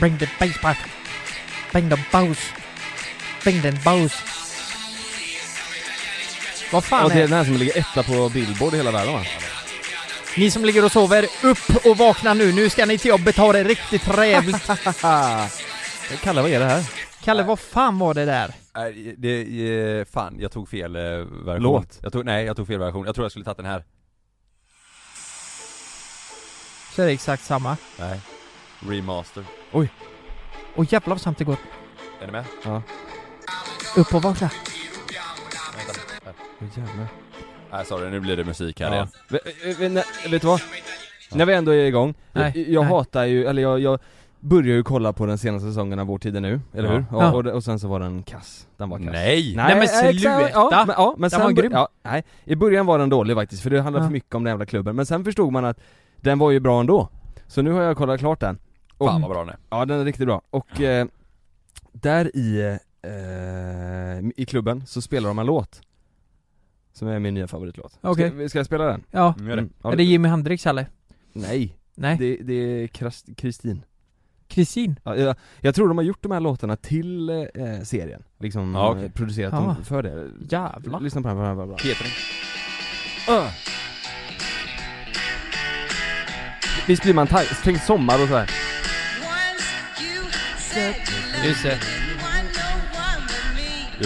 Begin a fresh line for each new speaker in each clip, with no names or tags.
Bring the bass back. Bring the bows. Bring the bows. Vad fan eh.
Och det
är
är den här som ligger etta på Billboard i hela världen va?
Ni som ligger och sover, upp och vakna nu. Nu ska ni till jobbet ha det riktigt trevligt.
Kalle, vad är det här?
Kalle, vad fan var det där?
Nej, det, eh, fan, jag tog fel eh, version.
Låt.
Jag tog, nej, jag tog fel version. Jag tror jag skulle tagit den här.
Så är det exakt samma.
Nej. Remaster.
Åh jävlar vad snabbt det går.
Är ni med?
Upp och vakna.
Vänta. Nej.
Åh, jävlar.
Nej, sorry, nu blir det musik här
Ja. eh,
igen.
Vet, vet du vad? När vi ändå är igång,
Nej,
jag, jag
nej.
hatar ju, eller jag, jag börjar ju kolla på den senaste säsongen av Vår tid är nu, eller
Ja.
hur?
Ja.
Och, och, och sen så var den kass, den var kass
Nej!
Nej, men
exakt.
sluta.
Ja, men, ja, men
Den
sen
var
bör-
grym.
Ja, nej, i början var den dålig faktiskt för det handlade
Ja.
för mycket om den jävla klubben, men sen förstod man att den var ju bra ändå Så nu har jag kollat klart den, och,
Fan vad bra den är.
ja den är riktigt bra, och eh, där i, eh, i klubben så spelar de en låt Som är min nya favoritlåt
Okej.
ska, ska jag spela den?
Ja.
Nu är det.
Mm, ja,
Är det Jimi Hendrix eller?
Nej,
Nej.
det, det är Kras- Kristin
Kristin?
Ja, jag, jag tror de har gjort de här låtarna till eh, serien, liksom
Ja, okej.
eh, producerat
Ja.
dem för det
Jävlar.
Lyssna på den här, bra, bra.
Heter den?
Visst blir man tagg, tänk sommar och sådär
Just det.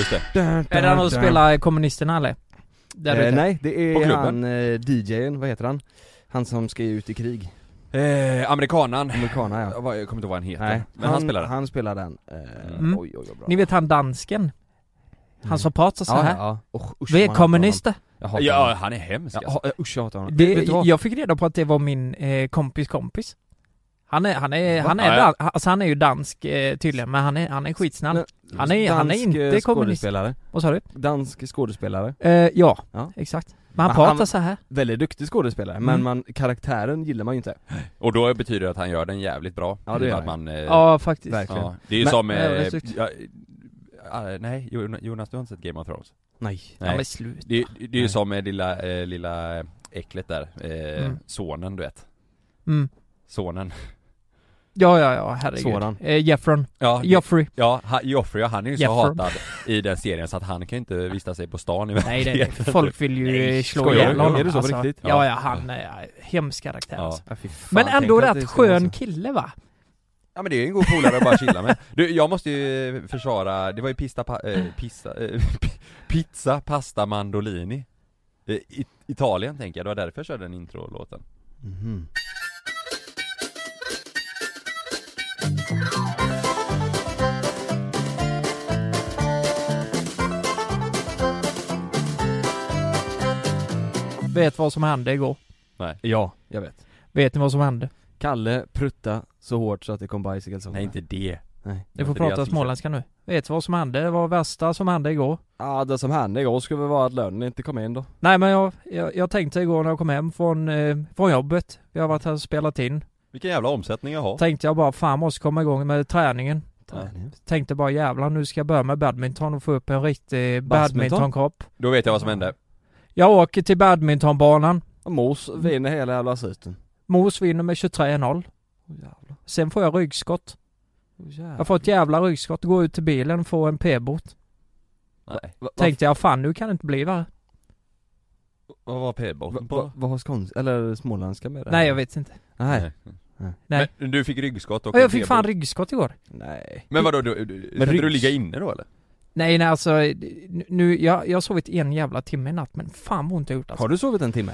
Just det.
Är det han som spelar kommunisterna eller? Där
eh,
ute?
Nej, det
På
är
klubben.
han eh, DJn, vad heter han? Han som ska ut i krig,
Eh, amerikanan.
amerikanerna ja
Jag var- jag kommer inte ihåg vad han heter.
Nej,
Men han, spelar den.
Han spelar den, eh,
Mm.
oj oj vad bra
Ni vet han dansken? Han som pratar så
Mm. ja,
här.
ja, ja. Usch, usch,
Vi
man
är
hatar
kommunister.
honom. Jag hatar
ja,
honom.
han är hemsk
jag,
alltså.
ha- usch jag hatar honom
Det,
Vet du vad?
jag fick reda på att det var min eh, kompis kompis. Han är, han är, han
Ja,
är,
ja.
dan, alltså han är ju dansk eh, tydligen, men han är, han är skitsnäll.
Nej,
han är- han är
Dansk,
inte
eh,
kommunist.
skådespelare
Vad sa du?
Dansk skådespelare,
Eh, ja,
Ja.
exakt. Men han
Men han-
pratar så här.
väldigt duktig skådespelare, men
Mm.
man, karaktären gillar man ju inte
Och då betyder det att han gör den jävligt bra.
Ja, det gör
att
han.
man, eh,
Ja, faktiskt.
verkligen.
ja. Det är ju
Men-
som... Eh,
Ja, det är snyggt.
ja, eh, nej, Jon- Jonas du har inte sett Game of Thrones?
Nej
Ja,
Nej.
men slut.
Det, det är ju
Nej.
som eh, lilla, eh, lilla eh, äcklet där, eh,
Mm.
sonen du vet.
Mm.
Sonen.
Ja, ja, ja, herregud.
Sådan.
Eh, Jeffron.
Ja,
Jeffrey.
ja ha, Joffrey ja, han är ju så
Jeffrey.
hatad i den serien så att han kan ju inte vistas sig på stan i
Nej,
verkligheten.
det, folk vill ju
Nej,
eh, slå
skojar
ihjäl
du?
honom. alltså.
Är det så på riktigt?
Ja,
Ja.
ja, han är hemsk karaktär
Ja.
alltså.
Ja, fy fan,
Men ändå
tänk att det
rätt
skulle vara
skön
så.
kille va?
Ja men det är ju en god polare att bara chilla med. Du, jag måste ju försvara, det var ju pista, pa, eh, pista, eh, pi- pizza, pasta, mandolini. Eh, I, Italien tänker jag, det var därför jag körde den introlåten.
Mhm.
Vet vad som hände igår?
Ja, jag vet
Vet ni vad som hände?
Kalle prutta så hårt så att det kom bajs i kalsongerna
Nej inte det.
Nej.
Ni får
Det är jag
prata
som-
småländska nu. Vet vad som hände? Det var det värsta som hände igår.
Ja, det som hände igår skulle väl vara att lönen inte kom in då
Nej men jag, jag, jag tänkte igår när jag kom hem från, eh, från jobbet, vi har varit här och spelat in.
Vilken jävla omsättning jag har.
Tänkte jag bara fan måste komma igång med träningen.
Ja.
Tänkte bara jävlar nu ska jag börja med badminton och få upp en riktig
Badminton?
badmintonkropp.
Då vet jag vad som hände.
Jag åker till badmintonbanan.
Och Mos vinner hela jävla skiten
Mos vinner med 23-0.
Åh jävlar,
Sen får jag ryggskott.
åh jävlar
Jag får ett jävla ryggskott, går ut till bilen och får en p-bot.
Nej.
Va- va-
Tänkte jag fan nu kan det inte bli värre.
Vad var
va-
p-botten
va- Vad har skåns, eller småländska med det? här?
Nej jag vet inte.
Nej,
Nej.
Men du fick ryggskott och
Och
en
jag fick
p-botten.
fan ryggskott igår.
nej
Men vadå, du, du, kunde
ryggs-
du ligga inne då eller?
Nej nej alltså, nu, jag, jag har sovit en jävla timme i natt men fan vad ont jag gjort alltså.
Har du sovit en timme?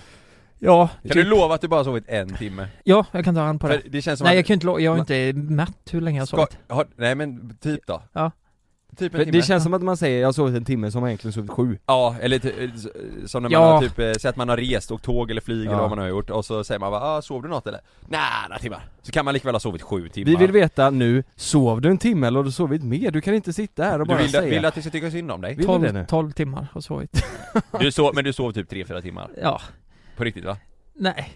Ja,
Kan du lova att du bara sovit en timme?
ja jag kan ta hand på det.
För det känns som
Nej jag
att...
kan inte lo- jag är inte mätt hur länge jag har sovit.
Ska, har, nej men typ då?
Ja.
Typ en
För
timme?
det känns som att man säger jag har sovit en timme som har egentligen sovit sju
Ja, eller ty- eh, s- som när man
Ja.
har typ, eh, säg att man har rest, och tåg eller flyg eller
Ja.
vad man har gjort och så säger man bara ah, sov du något eller? Nej, några timmar. Så kan man likväl ha sovit sju timmar.
Vi vill veta nu, sov du en timme eller har du sovit mer? Du kan inte sitta här och
du
bara
vill,
säga
vill att vi ska tycka synd om dig?
Vill du det
12,
nu?
12 timmar har jag sovit.
Du sov, men du sov typ 3-4 timmar?
Ja,
På riktigt va?
nej,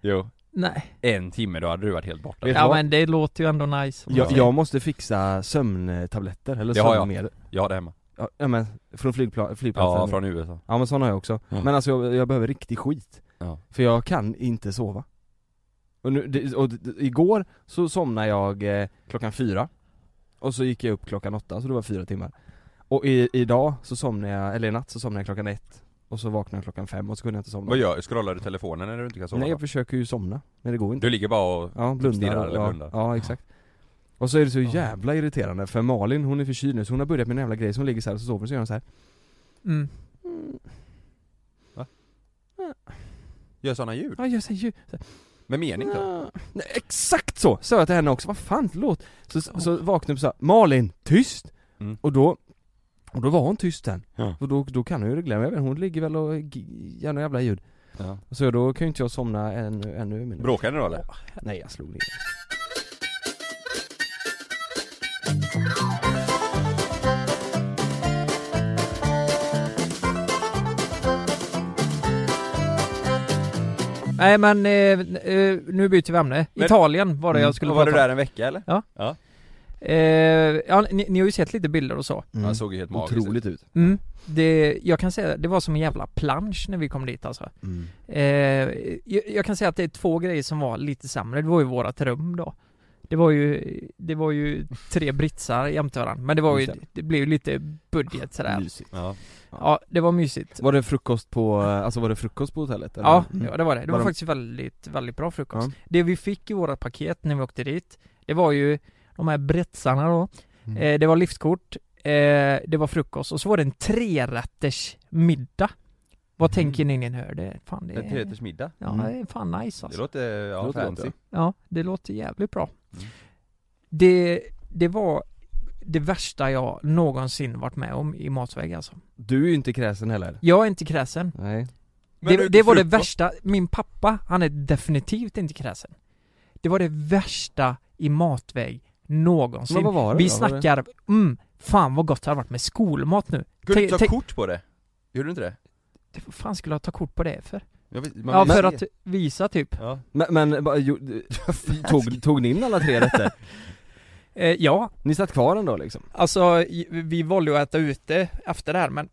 Jo.
nej.
En timme då hade du varit helt borta.
Vet du
Ja
vad?
men det låter ju ändå nice.
Jag, jag måste fixa sömntabletter eller
Det har jag.
sömnmedel
Jag har det hemma.
Ja, ja men, från flygpla- flygplatsen
Ja, från USA.
ja men sån har jag också.
Ja.
Men alltså jag, jag behöver riktig skit.
Ja.
För jag kan inte sova. Och, nu, det, och d- igår så somnade jag eh, klockan fyra. Och så gick jag upp klockan åtta, så det var fyra timmar. Och i, idag så somnade jag, eller i natt så somnade jag klockan ett. Och så vaknade jag klockan fem och så kunde jag inte somna.
Vad gör du? Scrollar du telefonen när du inte kan sova?
Nej
då?
jag försöker ju somna, men det går inte.
Du ligger bara och...
Ja, blundar
stirrar
och-
eller
ja,
blundar.
Ja, exakt Och så är det så
Ja.
jävla irriterande för Malin hon är förkyld nu så hon har börjat med en jävla grej så hon ligger så här och så sover hon, så gör hon så här.
Mm.
Gör sådana ljud?
Ja, jag säger ju så här,
Med mening typ. då?
Nej, Exakt så! Sa jag till henne också, vad fan låt Så, så, så vaknade hon så här, Malin, tyst!
Mm.
Och då och då var hon tyst sen.
Ja.
Och då, då kan hon ju reglera, men jag vet inte, hon ligger väl och g- gör några jävla ljud.
Ja.
Och Så då kan ju inte jag somna ännu, ännu mindre.
Bråkar ni då eller?
Nej jag slog ner.
Nej men, eh, eh, nu byter vi ämne.
Men-
Italien var det jag skulle
Och var du
prata om.
där en vecka eller?
Eh, ja, ni, ni har ju sett lite bilder och så.
Ja, det såg ju helt magiskt ut.
Mm. Otroligt ut.
Mm. Det, jag kan säga, det var som en jävla plansch när vi kom dit alltså.
Mm.
Eh, jag, jag kan säga att det är två grejer som var lite sämre. Det var ju vårat rum då. Det var ju, det var ju tre britsar jämte varandra. Men det var ju,
Just
det blev ju lite budget sådär.
Mysigt.
Ja.
Ja, det var mysigt.
Var det frukost på, alltså var det frukost på hotellet? eller?
Ja,
Mm.
ja det var det. Det
Var
var
de-
faktiskt väldigt, väldigt bra frukost.
Ja.
Det vi fick i vårat paket när vi åkte dit, det var ju de här bretsarna då.
Mm.
Eh, det var liftkort, eh, det var frukost och så var det en trerätters middag. Vad
Mhm.
tänker ni när ni hör det? Fan det
En
är...
trerätters middag?
Ja,
Mm.
det är fan nice
Det
alltså.
låter, ja,
Det låter gott,
fancy.
ja.
Ja, det låter jävligt bra.
Mm.
Det, det var det värsta jag någonsin varit med om i matväg alltså.
Du är ju inte kräsen heller
Jag är inte kräsen.
Nej
Men
det,
du,
det var det
frukost-
värsta, min pappa, han är definitivt inte kräsen. Det var det värsta i matväg
Men
någonsin.
vad var det
Vi
då? Var det-
snackar, mm, fan vad gott det hade varit med skolmat nu.
Kunde du
Tänk-
inte ta
tänk-
kort på det? Gjorde du inte det?
Det- Vad fan skulle jag ta kort på det för?
Jag vet- man
Ja,
vill
för
se.
att visa typ.
Ja.
Men, men bara, jo, du- tog, tog ni in alla tre rätter?
Eh, ja,
Ni satt kvar ändå liksom?
alltså i- vi valde ju att äta ute efter det här men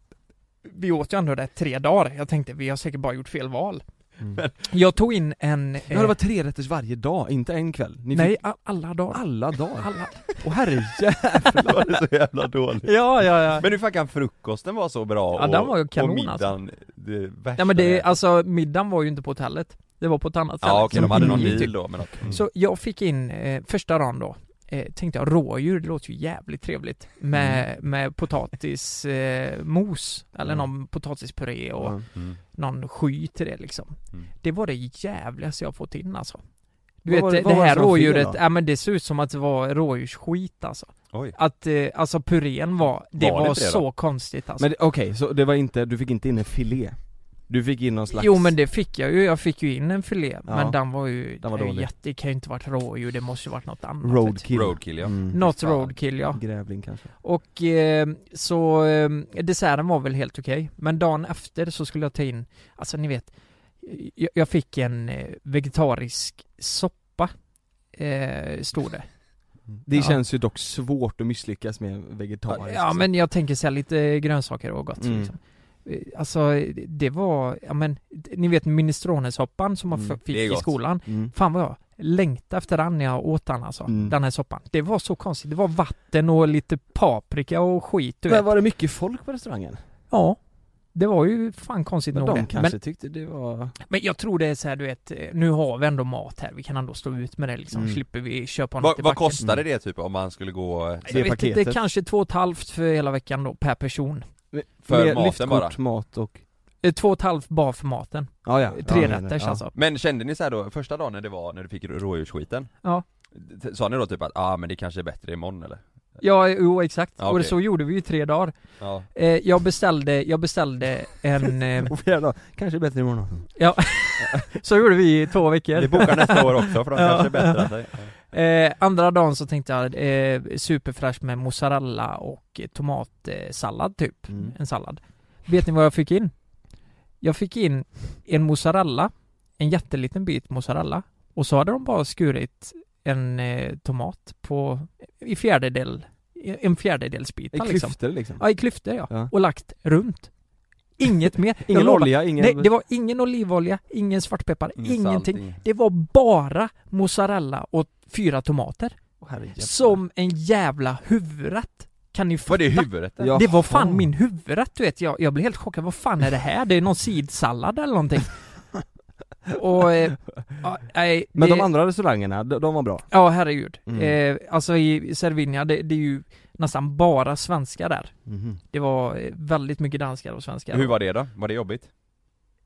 vi åt ju ändå det tre dagar. Jag tänkte vi har säkert bara gjort fel val.
Men-
Jag tog in en... eh,
Ja det var tre rätter varje dag, inte en kväll? Ni
nej,
fick
a- alla dagar.
alla
Ah.
dagar?
Alla.
Åh herrejävlar!
Det var det så jävla dåligt.
Ja, ja, ja.
Men hur fan kan frukosten vara så bra
Ja, den var ju kanon,
och middagen, det värsta
Nej men det,
jag-
alltså middagen var ju inte på hotellet Det var på ett annat ställe
Ja okej, de hade någon
Mm.
deal då men okej.
Så jag fick in, eh, första dagen då eh, Tänkte jag rådjur, det låter ju jävligt trevligt Med,
Mm.
med potatismos eh, mos, Eller
Mm.
någon potatispuré och
Ja.
Mm.
någon sky till det liksom
Mm.
Det var det jävligaste jag fått in alltså Du
Vad
vet
var det-
det,
vad var det
här
som var fel
rådjuret,
då?
ja men det ser ut som att det var rådjursskit alltså
Oj.
Att, eh, alltså purén var, det
Var
var,
det inte det då?
så konstigt alltså
Men det- okej, så det var inte, du fick inte in en filé? Du fick in någon slags?
Jo men det fick jag ju, jag fick ju in en filé
Ja.
men den var ju,
Den var
den var
dålig.
jätte, det kan ju inte varit rådjur, det måste ju varit något annat vet
Roadkill?
Roadkill ja.
du.
Mm.
Något
Fan.
roadkill ja.
Grävling kanske?
Och eh, så, eh, desserten var väl helt okej. Men dagen efter så skulle jag ta in, alltså ni vet, jag, jag fick en eh, vegetarisk soppa, eh, stod det.
Det
Ja.
känns ju dock svårt att misslyckas med en vegetarisk
Ja men jag tänker säga lite grönsaker och gott
Mm.
liksom. Eh, Alltså det var, ja men, ni vet minestronesoppan som man
Mm.
f- fick
Det är
i
gott.
skolan.
mm.
Fan vad jag längtade efter den när jag åt den alltså,
Mm.
den här soppan. Det var så konstigt, det var vatten och lite paprika och skit du
Men
vet.
var det mycket folk på restaurangen?
Ja. Det var ju fan konstigt
Men
nog
de
det.
kanske tyckte det var...
Men, men jag tror det är så här, du vet, eh, nu har vi ändå mat här, vi kan ändå stå ut med det liksom,
Mm.
slipper vi köpa något
Vad,
i
vad
backen.
kostade det typ om man skulle gå
Jag vet
det
inte,
paketet?
kanske två och ett halvt för hela veckan då, per person.
för
Mer
maten
liftkort,
bara?
mat och...
Eh, Två och ett halvt bara för maten.
Ja, ja.
Tre
ja, men-
rätters
ja.
alltså.
Men kände ni så här då, första dagen när det var, när du fick rådjursskiten?
Ja.
t- Sa ni då typ att ah, men det kanske är bättre imorgon eller?
Ja, jo exakt.
Ja,
Och
okej.
så gjorde vi ju i tre dagar.
Ja.
Eh, jag beställde, jag beställde en... Eh,
Och flera dagar, kanske bättre imorgon
så gjorde vi i två veckor.
Vi bokar nästa år också för de
Ja.
kanske är bättre än dig.
Eh, andra dagen så tänkte jag eh, superfräsch med mozzarella och eh, tomatsallad typ.
Mm.
En sallad. Vet ni vad jag fick in? Jag fick in en mozzarella, en jätteliten bit mozzarella. Och så hade de bara skurit en eh, tomat på, i fjärdedel en fjärdedels bit
I
liksom.
klyftor liksom?
Ja, i klyftor ja.
Ja.
Och lagt runt. Inget mer. Jag
Ingen
lovar.
olja, ingen...
Nej, det var ingen olivolja, ingen svartpeppar,
Mm.
ingenting. Det var bara mozzarella och fyra tomater.
Åh, herrejävlar.
Som en jävla huvudrätt. Kan ni fatta?
Var det huvudet?
Ja.
Det var fan
Jaha.
min huvudrätt du vet, jag, jag blev helt chockad, vad fan är det här? Det är någon sidsallad eller någonting Och, eh, ja, nej, det,
Men de andra restaurangerna, de, de var bra?
ja herregud
Mm.
eh, Alltså i Cervinia, det, det är ju nästan bara svenskar där Det var eh, väldigt mycket danskar och svenskar
Hur var det då? Var det jobbigt?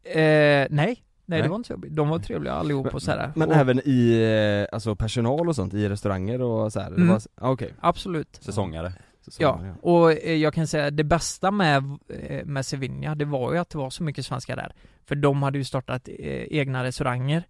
Eh, nej, nej,
Nej.
det var inte jobbigt, de var trevliga allihop och sådär
Men
och,
även i, eh, alltså personal och sånt, i restauranger och så här, det
Mm.
var, s- ah, okej
Absolut
Säsongare?
Så- så
Ja,
var det,
och eh, jag kan säga det bästa med, eh, med Sevilla, det var ju att det var så mycket svenskar där. För de hade ju startat eh, egna restauranger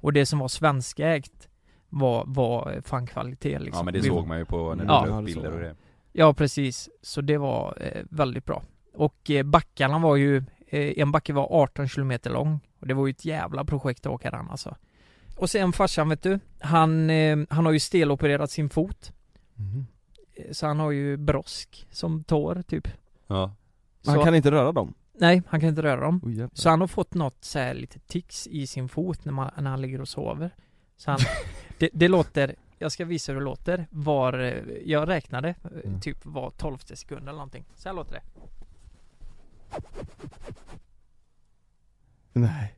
och det som var svenskägt var, var fan kvalitet liksom.
Ja men det
Vi-
såg man ju på när du
Ja.
la
Ja,
upp
det såg
bilder och
jag.
det
Ja precis, så det var eh, väldigt bra. Och eh, backarna var ju, eh, en backe var 18 kilometer lång och det var ju ett jävla projekt att åka den alltså. Och sen farsan vet du, han, eh, han har ju stelopererat sin fot.
Mhm.
eh, Så han har ju brosk som tår typ.
Ja,
Men Han
Så-
kan inte röra dem?
Nej, han kan inte röra dem.
Oj, jävlar.
Så han har fått något så här lite tics i sin fot när, man, när han ligger och sover. Så han, det, det låter, jag ska visa hur det låter, var, eh, jag räknade eh,
Mm.
typ var 12 sekund eller någonting. Så här låter det.
Nej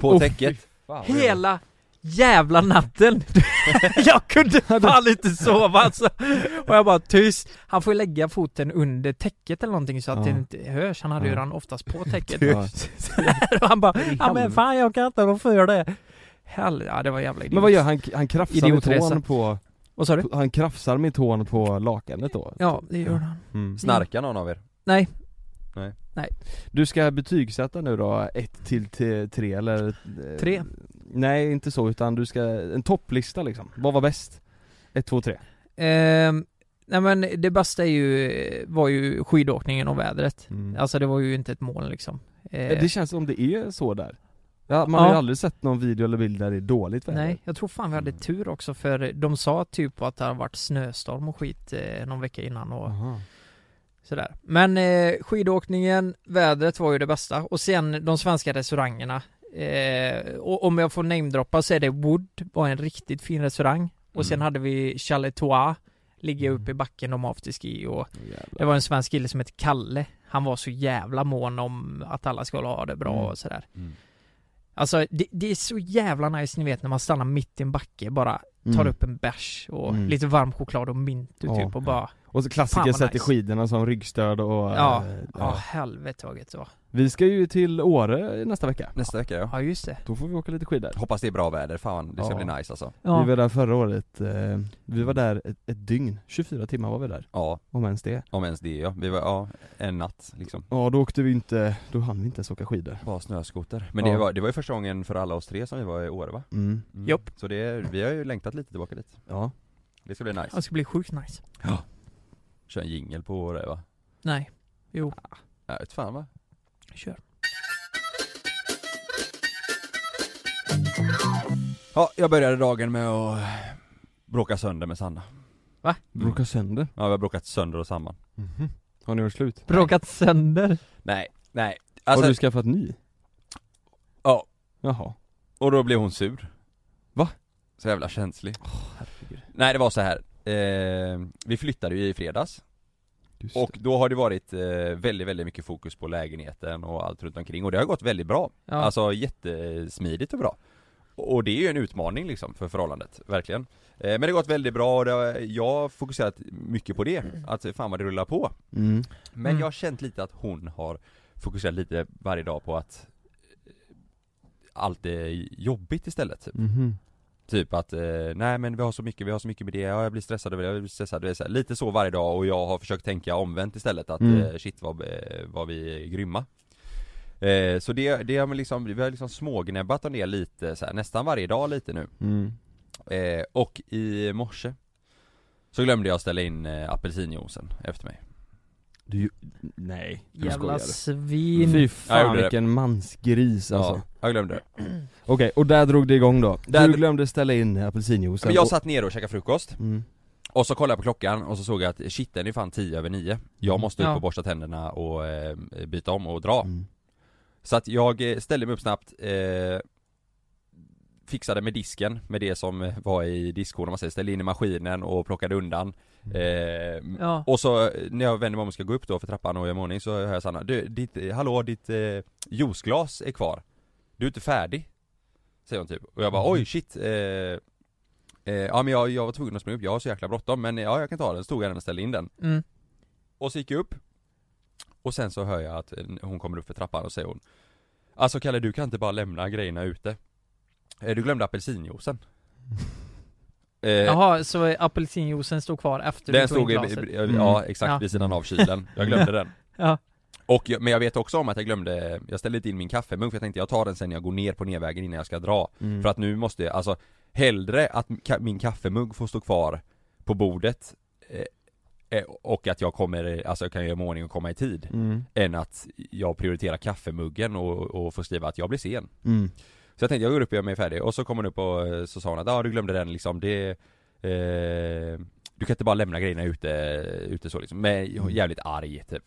på
Oh,
täcket?
Hela jävla natten! jag kunde fan inte sova alltså. Och jag bara tyst. Han får ju lägga foten under täcket eller någonting så att
Ja.
det inte hörs. Han hade ju
Ja.
den oftast på täcket.
Ja.
och han bara, ja
I
men
helvete.
fan jag kan inte, varför gör det? Hell, ja det var jävla idiot.
Men vad gör han? Han krafsar med
Idiotresa.
tån på,
Vad sa du?
på- han krafsar med tån på lakanet då?
Ja, det gör han.
Mm.
Snarkar någon av er?
Du ska betygsätta nu då, 1 till te- tre eller? eh,
Tre.
Nej inte så utan du ska, en topplista liksom, vad var bäst? ett två tre
Ehm, nej men det bästa är ju, var ju skidåkningen och vädret. Alltså det var ju inte ett mål liksom. Eh,
Det känns som det är så där ja, Man har
Ja.
ju aldrig sett någon video eller bild där det är dåligt väder
nej, jag tror fan vi hade
Mm.
tur också för de sa typ att det hade varit snöstorm och skit eh, någon vecka innan och
Aha.
sådär. Men eh, skidåkningen, vädret var ju det bästa och sen de svenska restaurangerna. Eh, och om jag får namedroppa så är det Wood, var en riktigt fin restaurang. Och sen
Mm.
hade vi Chalet Tois, ligga uppe i backen om afterski och
Åh, jävlar.
Det var en svensk kille som hette Kalle Han var så jävla mån om att alla skulle ha det bra
Mm.
och sådär
Mm.
Alltså det, det är så jävla nice ni vet när man stannar mitt i en backe bara tar
Mm.
upp en bärs och
Mm.
lite varm choklad och mintu
Ja.
typ och bara
Och
Fan
så klassiker
vad
sätter
nice.
skidorna som ryggstöd och
Ja,
eh,
ja "Ah, helvete vad gött det var
Vi ska ju till Åre nästa vecka
Nästa vecka ja
Ja just det
Då får vi åka lite skidor
Hoppas det är bra väder, fan det ska
Ja.
bli nice alltså
Ja,
Vi var där förra året, eh, vi var där ett, ett dygn, 24 timmar var vi där,
Ja,
om ens det
om ens det ja, vi var, ja, en natt liksom
Ja då åkte vi inte, då hann vi inte ens åka skidor
Bara snöskoter Men
Ja.
det, var, det var ju första gången för alla oss tre som vi var i Åre va?
mm.
Mm.
Japp.
Så det, vi har ju längtat lite tillbaka dit
Ja,
Det ska bli nice
det ska bli sjukt nice
Kör en jingle på Åre va?
Nej, jo,
Jag vet fan va?
kör
Ja, jag började dagen med att bråka sönder med Sanna
bråka sönder
Ja, vi har bråkat sönder och samman
Har ni gjort slut?
Bråkat sönder
Nej, nej
Har
Alltså,
du skaffat ny?
Ja.
Jaha
och då blev hon sur
Va?
Så jävla känslig Nej det var så här. Eh, vi flyttade ju i fredags
Just
och då har det varit eh, väldigt, väldigt mycket fokus på lägenheten och allt runt omkring och det har gått väldigt bra.
ja.
Alltså jättesmidigt och bra. Och det är ju en utmaning liksom för förhållandet, verkligen. Eh, men det har gått väldigt bra och det har, jag har fokuserat mycket på det, att fan vad det rullar på.
mm.
Men
Mm.
jag har känt lite att hon har fokuserat lite varje dag på att eh, allt är jobbigt istället. Typ.
Mhm.
Typ att, eh, nej men vi har så mycket, vi har så mycket med det, ja, jag blir stressad över det, jag blir stressad över det. Så här, Lite så varje dag och jag har försökt tänka omvänt istället att
Mm.
eh, shit vad, eh, vad vi är grymma eh, Så det, det har man liksom, vi har liksom smågnäbbat om det lite så här, nästan varje dag lite nu
Mm.
eh, Och i morse Så glömde jag ställa in eh, apelsinjuicen efter mig
Du, nej
Jävla
skojar.
svin
Fy
Ja, jag
fan
gjorde det.
vilken mansgris alltså
Ja, jag glömde det
Okej, och där drog det igång då?
Där-
Du glömde ställa in apelsinjuicen
Men jag
och-
satt nere och käkade frukost
mm.
Och så kollade jag på klockan och så såg jag att shit den är fan tio över nio Jag måste upp
Ja.
och borsta tänderna och eh, byta om och dra
Mm.
Så att jag eh, ställde mig upp snabbt eh, Fixade med disken med det som eh, var i diskhon om man säger, ställde in i maskinen och plockade undan eh,
Ja,
Och så eh, när jag vänder mig om och ska gå upp då för trappan och göra mig i ordning så hör jag Sanna, du, ditt, eh, hallå ditt eh, juiceglas är kvar Du är inte färdig Säger hon typ, och jag bara oj shit eh, eh, Ja men jag, jag var tvungen att springa upp, jag har så jäkla bråttom men eh, ja jag kan ta den, så tog jag den och ställde in den
mm.
Eh.
och så gick jag upp Och sen så hör jag att eh, hon kommer upp för trappan och säger hon Alltså Kalle du kan inte bara lämna grejerna ute Eh, Du glömde apelsinjuicen eh,
Jaha, så apelsinjuicen stod kvar efter
Den
du tog
stod
in
i,
glaset?
i- ja exakt
Ja.
vid sidan av kylen, jag glömde den
Ja.
och jag, men jag vet också om att jag glömde, jag ställde inte in min kaffemugg för jag tänkte jag tar den sen när jag går ner på nedvägen innan jag ska dra
Mm.
För att nu måste jag, alltså hellre att ka- min kaffemugg får stå kvar på bordet eh, eh, och att jag kommer, alltså jag kan göra mig i ordning och komma i tid
Mm.
än att jag prioriterar kaffemuggen och, och får skriva att jag blir sen.
Mm.
Så jag tänkte jag går upp och gör mig färdig och så kom hon upp och eh, så sa hon att ja ah, du glömde den liksom, det eh, Du kan inte bara lämna grejerna ute, ute så liksom, men jag är jävligt arg typ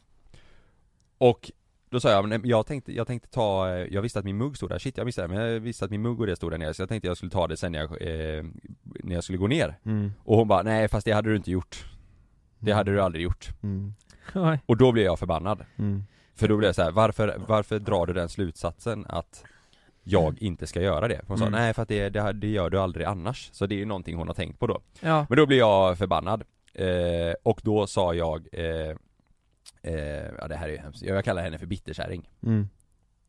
Och då sa jag, "Men, eh, jag tänkte, jag tänkte ta, eh, jag visste att min mugg stod där, shit jag missade det, men jag visste att min mugg och det stod där nere så jag tänkte jag skulle ta det sen när jag, eh, när jag skulle gå ner
Mm.
Och hon bara, nej fast det hade du inte gjort Det hade du aldrig gjort
Mm.
Oj.
Och då blev jag förbannad
Mm.
för då blev jag så här, varför, varför drar du den slutsatsen att jag inte ska göra det? Hon sa
Mm.
nej för att det, det, det gör du aldrig annars, så det är ju någonting hon har tänkt på då
Ja,
Men då blev jag förbannad eh, och då sa jag eh, eh, Ja det här är ju hemskt, jag kallar henne för bitterkärring
Mm.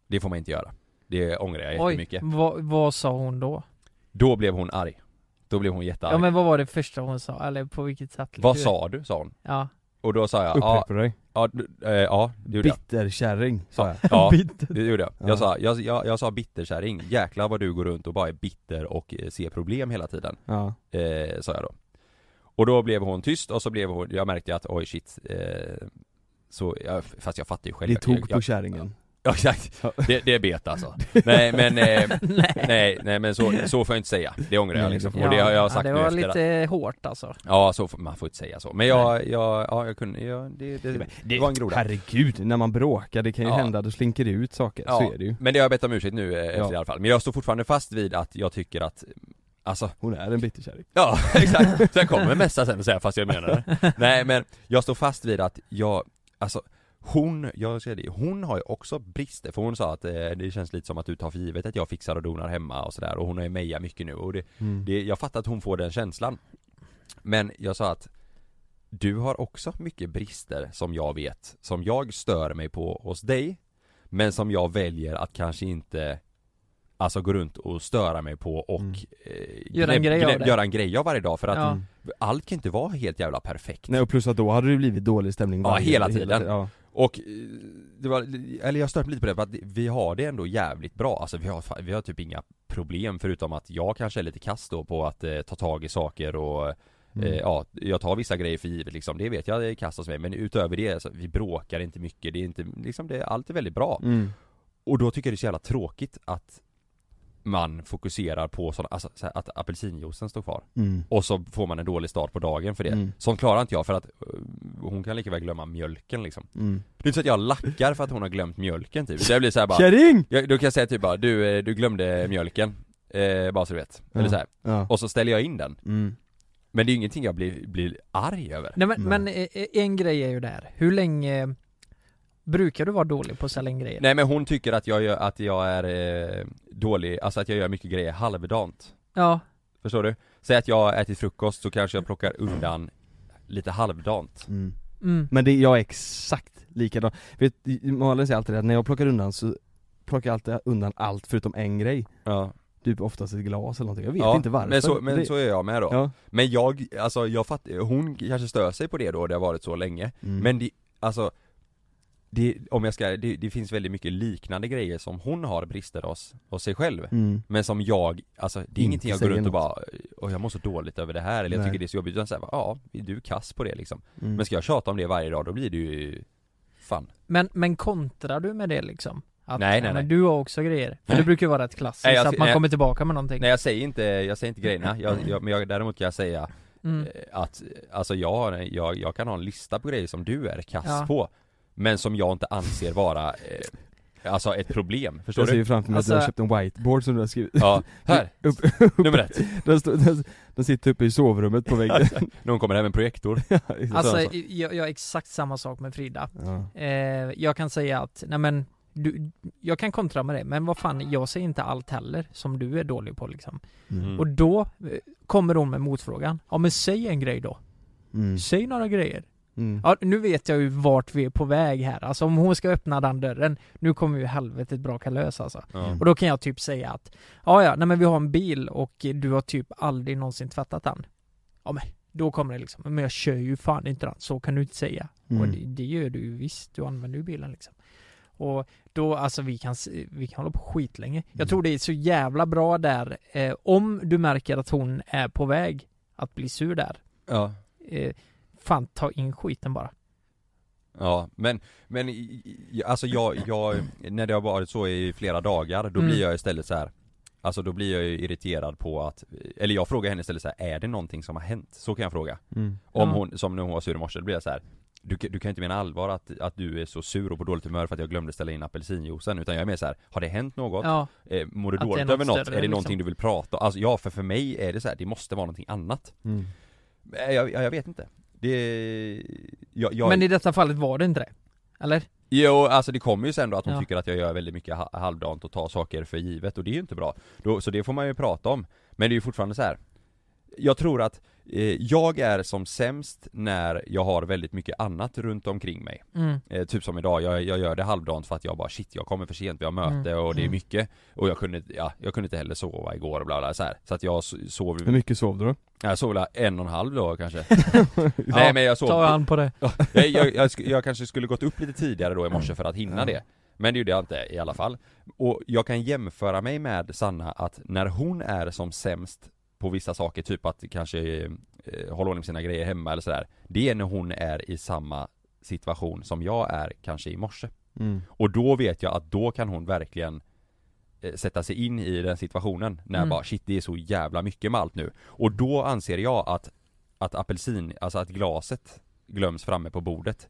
Det får man inte göra Det ångrar jag
oj.
jättemycket
Vad, vad sa hon då?
Då blev hon arg Då blev hon jättearg
Ja men vad var det första hon sa? Eller på vilket sätt?
Vad sa du? sa hon
Ja.
Och då sa jag ja,
Upprepar dig.
ja, du- eh, ja det gjorde jag
Bitterkärring, sa jag.
Ja,
Bitter.
Det gjorde jag.
Ja.
Jag sa, jag, jag, jag sa bitterkärring, jäklar vad du går runt och bara är bitter och eh, ser problem hela tiden,
Ja.
eh, sa jag då. Och då blev hon tyst och så blev hon, jag märkte att oj shit, eh, så, jag, fast jag fattar ju själv.
Det tog på
jag,
kärringen.
Ja exakt, det, det är bet alltså. nej men, eh, nej, nej men så, så får jag inte säga, det ångrar jag
Nej,
liksom.
det
Och det har jag sagt
ja,
nu
det var
efter att-
lite hårt alltså.
Ja så, får- man får inte säga så. Men jag, jag, ja jag kunde, jag, det, det, det var en groda.
Herregud, när man bråkar, det kan ju
Ja.
hända, då slinker det ut saker,
Ja,
så är det ju
Men det har jag bett om ursäkt nu eh, efter
Ja.
i alla fall. Men jag står fortfarande fast vid att jag tycker att Alltså,
Hon är en bitterkärring
ja exakt. Sen kommer en mässa sen och säger fast jag menar det. Nej men, jag står fast vid att jag, alltså hon, jag säger det, hon har ju också brister för hon sa att eh, det känns lite som att du tar för givet att jag fixar och donar hemma och sådär och hon har ju mejat mycket nu och det,
mm.
det, jag fattar att hon får den känslan Men jag sa att Du har också mycket brister som jag vet Som jag stör mig på hos dig Men som jag väljer att kanske inte Alltså gå runt och störa mig på och
Mm.
eh,
Göra en
gnä-
grej av
gnä-
det.
göra en grej av varje dag för att
Ja.
Mm.
allt kan inte vara helt jävla perfekt
Nej och plus att då hade det blivit dålig stämning
Ja,
varje-
hela tiden.
ja.
Och eh, det var, eller jag störde mig lite på det för att vi har det ändå jävligt bra Alltså vi har, fa- vi har typ inga problem förutom att jag kanske är lite kass då på att eh, ta tag i saker och
Mm.
Eh, ja, jag tar vissa grejer för givet liksom, det vet jag det kastas med. Men utöver det, så, vi bråkar inte mycket, det är inte, liksom det, allt är väldigt bra.
Mm.
Och då tycker jag det är så jävla tråkigt att man fokuserar på sådana, alltså, så här, att apelsinjuicen står kvar.
Mm.
Och så får man en dålig start på dagen för det.
Mm.
Sånt klarar inte jag för att eh, hon kan lika väl glömma mjölken liksom.
Mm.
Det är inte så att jag lackar för att hon har glömt mjölken typ. Så jag blir så här bara,
Kärring!
jag, då kan jag säga typ bara, du, eh, du glömde mjölken. Eh, bara så du vet. Eller
Ja.
så här.
Ja.
Och så ställer jag in den.
Mm.
Men det är ju ingenting jag blir, blir arg över.
Nej men,
Nej.
men eh, eh, en grej är ju det här. Hur länge brukar du vara dålig på att sälja in grejer?
Nej men hon tycker att jag, gör, att jag är eh, dålig, alltså att jag gör mycket grejer halvdant
Ja,
Förstår du? Säg att jag ätit frukost så kanske jag plockar undan lite halvdant
Mm.
mm.
Men det, jag är exakt likadan Vet, Malin säger alltid det att när jag plockar undan så plockar jag alltid undan allt förutom en grej
Ja,
Typ oftast ett glas eller någonting, jag vet
ja,
inte varför
Men, så, men
Det-
så är jag med då
ja.
Men jag, alltså jag fattar, hon kanske stör sig på det då, det har varit så länge
Mm.
Men det, alltså det, om jag ska, det, det finns väldigt mycket liknande grejer som hon har brister hos, hos sig själv
mm.
Men som jag, alltså det är
Inte
ingenting jag går
säger
runt och
något.
bara och jag mår så dåligt över det här eller jag
Nej.
tycker det är så jobbigt utan såhär, ja, du är kass på det liksom
Mm.
Men ska jag tjata om det varje dag då blir det ju fan
men, men kontrar du med det liksom? Att,
Nej, nej,
ja, men
nej.
Du har också grejer. För
Nej.
det brukar ju vara rätt klassiskt
Nej, jag-
att man
nej.
kommer tillbaka med någonting.
Nej jag säger inte, jag säger inte grejerna, jag, jag, men jag, däremot kan jag säga
Mm.
Eh, Att, alltså jag, har en- jag, jag kan ha en lista på grejer som du är kass
Ja.
på Men som jag inte anser vara, eh, alltså ett problem, förstår
Jag ser
du?
ju framför mig att du
Alltså-
har köpt en whiteboard som du har skrivit
Ja, här,
upp,
nummer ett
den, står- den, den sitter uppe i sovrummet på väggen
Någon kommer hem med en projektor
Alltså, jag, jag är exakt samma sak med Frida.
ja.
Eh, jag kan säga att, nej men, du, jag kan kontra med det, men vad fan, jag säger inte allt heller som du är dålig på liksom.
Mm.
Och då eh, kommer hon med motfrågan. Ja men säg en grej då.
Mm.
Säg några grejer.
Mm.
Ja, nu vet jag ju vart vi är på väg här. Alltså om hon ska öppna den dörren, nu kommer ju helvetet braka lös alltså.
ja.
Och då kan jag typ säga att, ja ja, nej men vi har en bil och du har typ aldrig någonsin tvättat den. Ja men, då kommer det liksom, men jag kör ju fan inte den, så kan du inte säga. Och
Mm.
det, det gör du ju visst, du använder ju bilen liksom. Och då, alltså vi kan, s- vi kan hålla på skitlänge.
Mm.
Jag tror det är så jävla bra där, eh, om du märker att hon är på väg att bli sur där,
Ja.
eh, fan ta in skiten bara.
Ja, men, men i- i- alltså jag, jag, när det har varit så i flera dagar, då
Mm.
blir jag istället så här. Alltså då blir jag ju irriterad på att, eller jag frågar henne istället så här, är det någonting som har hänt? Så kan jag fråga.
Mm.
Om
Ja.
hon, som när hon var sur i morse, då blir jag så här. Du, kan- du kan inte mena allvar att, att du är så sur och på dåligt humör för att jag glömde ställa in apelsinjuicen utan jag är mer så här, har det hänt något?
Ja,
Eh, mår du
Att det är
dåligt
något
över något?
större,
Är det
liksom.
någonting du vill prata om? Alltså ja, för, för mig är det så här, det måste vara någonting annat.
Mm.
Eh, Jag, jag, jag vet inte. Det, jag, jag,
men i detta fallet var det inte det. Eller?
Jo, alltså det kommer ju sen då att hon
Ja.
tycker att jag gör väldigt mycket ha- halvdant och tar saker för givet och det är ju inte bra. Då, så det får man ju prata om. Men det är ju fortfarande så här. Jag tror att eh, jag är som sämst när jag har väldigt mycket annat runt omkring mig.
Mm.
Eh, typ som idag, jag, jag gör det halvdant för att jag bara shit, jag kommer för sent, vi har möte
Mm,
och det är
mm.
mycket. Och jag kunde, ja, jag kunde inte heller sova igår och bla bla så här. Så att jag so- sov,
Hur mycket sov du då?
jag sov väl en och en halv då kanske. Nej men jag sov
Ta an på det.
jag, jag, jag, sk- jag kanske skulle gått upp lite tidigare då i morse för att hinna det Men det gjorde jag inte i alla fall Och jag kan jämföra mig med Sanna att när hon är som sämst på vissa saker, typ att kanske eh, hålla ordning på sina grejer hemma eller sådär Det är när hon är i samma situation som jag är kanske i morse
Mm.
Och då vet jag att då kan hon verkligen eh, sätta sig in i den situationen när
Mm.
bara shit det är så jävla mycket med allt nu Och då anser jag att, att apelsin, alltså att glaset glöms framme på bordet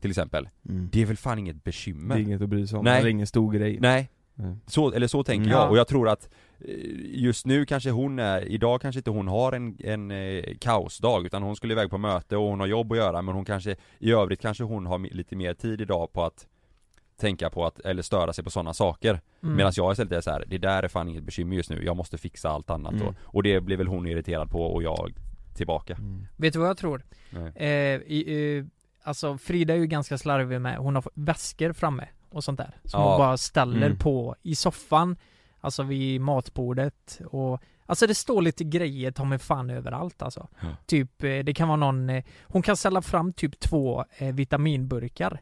Till exempel
Mm.
Det är väl fan inget bekymmer?
Det är inget att bry sig om,
Nej.
det är ingen stor grej
Nej
Nej.
så, eller så tänker
Mm.
jag,
Ja.
och jag tror att eh, Just nu kanske hon är, idag kanske inte hon har en, en eh, kaosdag utan hon skulle iväg på möte och hon har jobb att göra men hon kanske I övrigt kanske hon har mi- lite mer tid idag på att Tänka på att, eller störa sig på sådana saker
Mm.
Medan jag istället är så här, det där är fan inget bekymmer just nu, jag måste fixa allt annat då
Mm.
Och det blir väl hon irriterad på och jag tillbaka
Mm.
Vet du vad jag tror?
Nej.
Eh, i, eh, alltså Frida är ju ganska slarvig med, hon har väskor framme och sånt där. Som
Ja.
hon bara ställer
Mm.
på i soffan, alltså vid matbordet och Alltså det står lite grejer ta mig fan överallt alltså.
Ja.
Typ, eh, det kan vara någon, eh, hon kan ställa fram typ två eh, vitaminburkar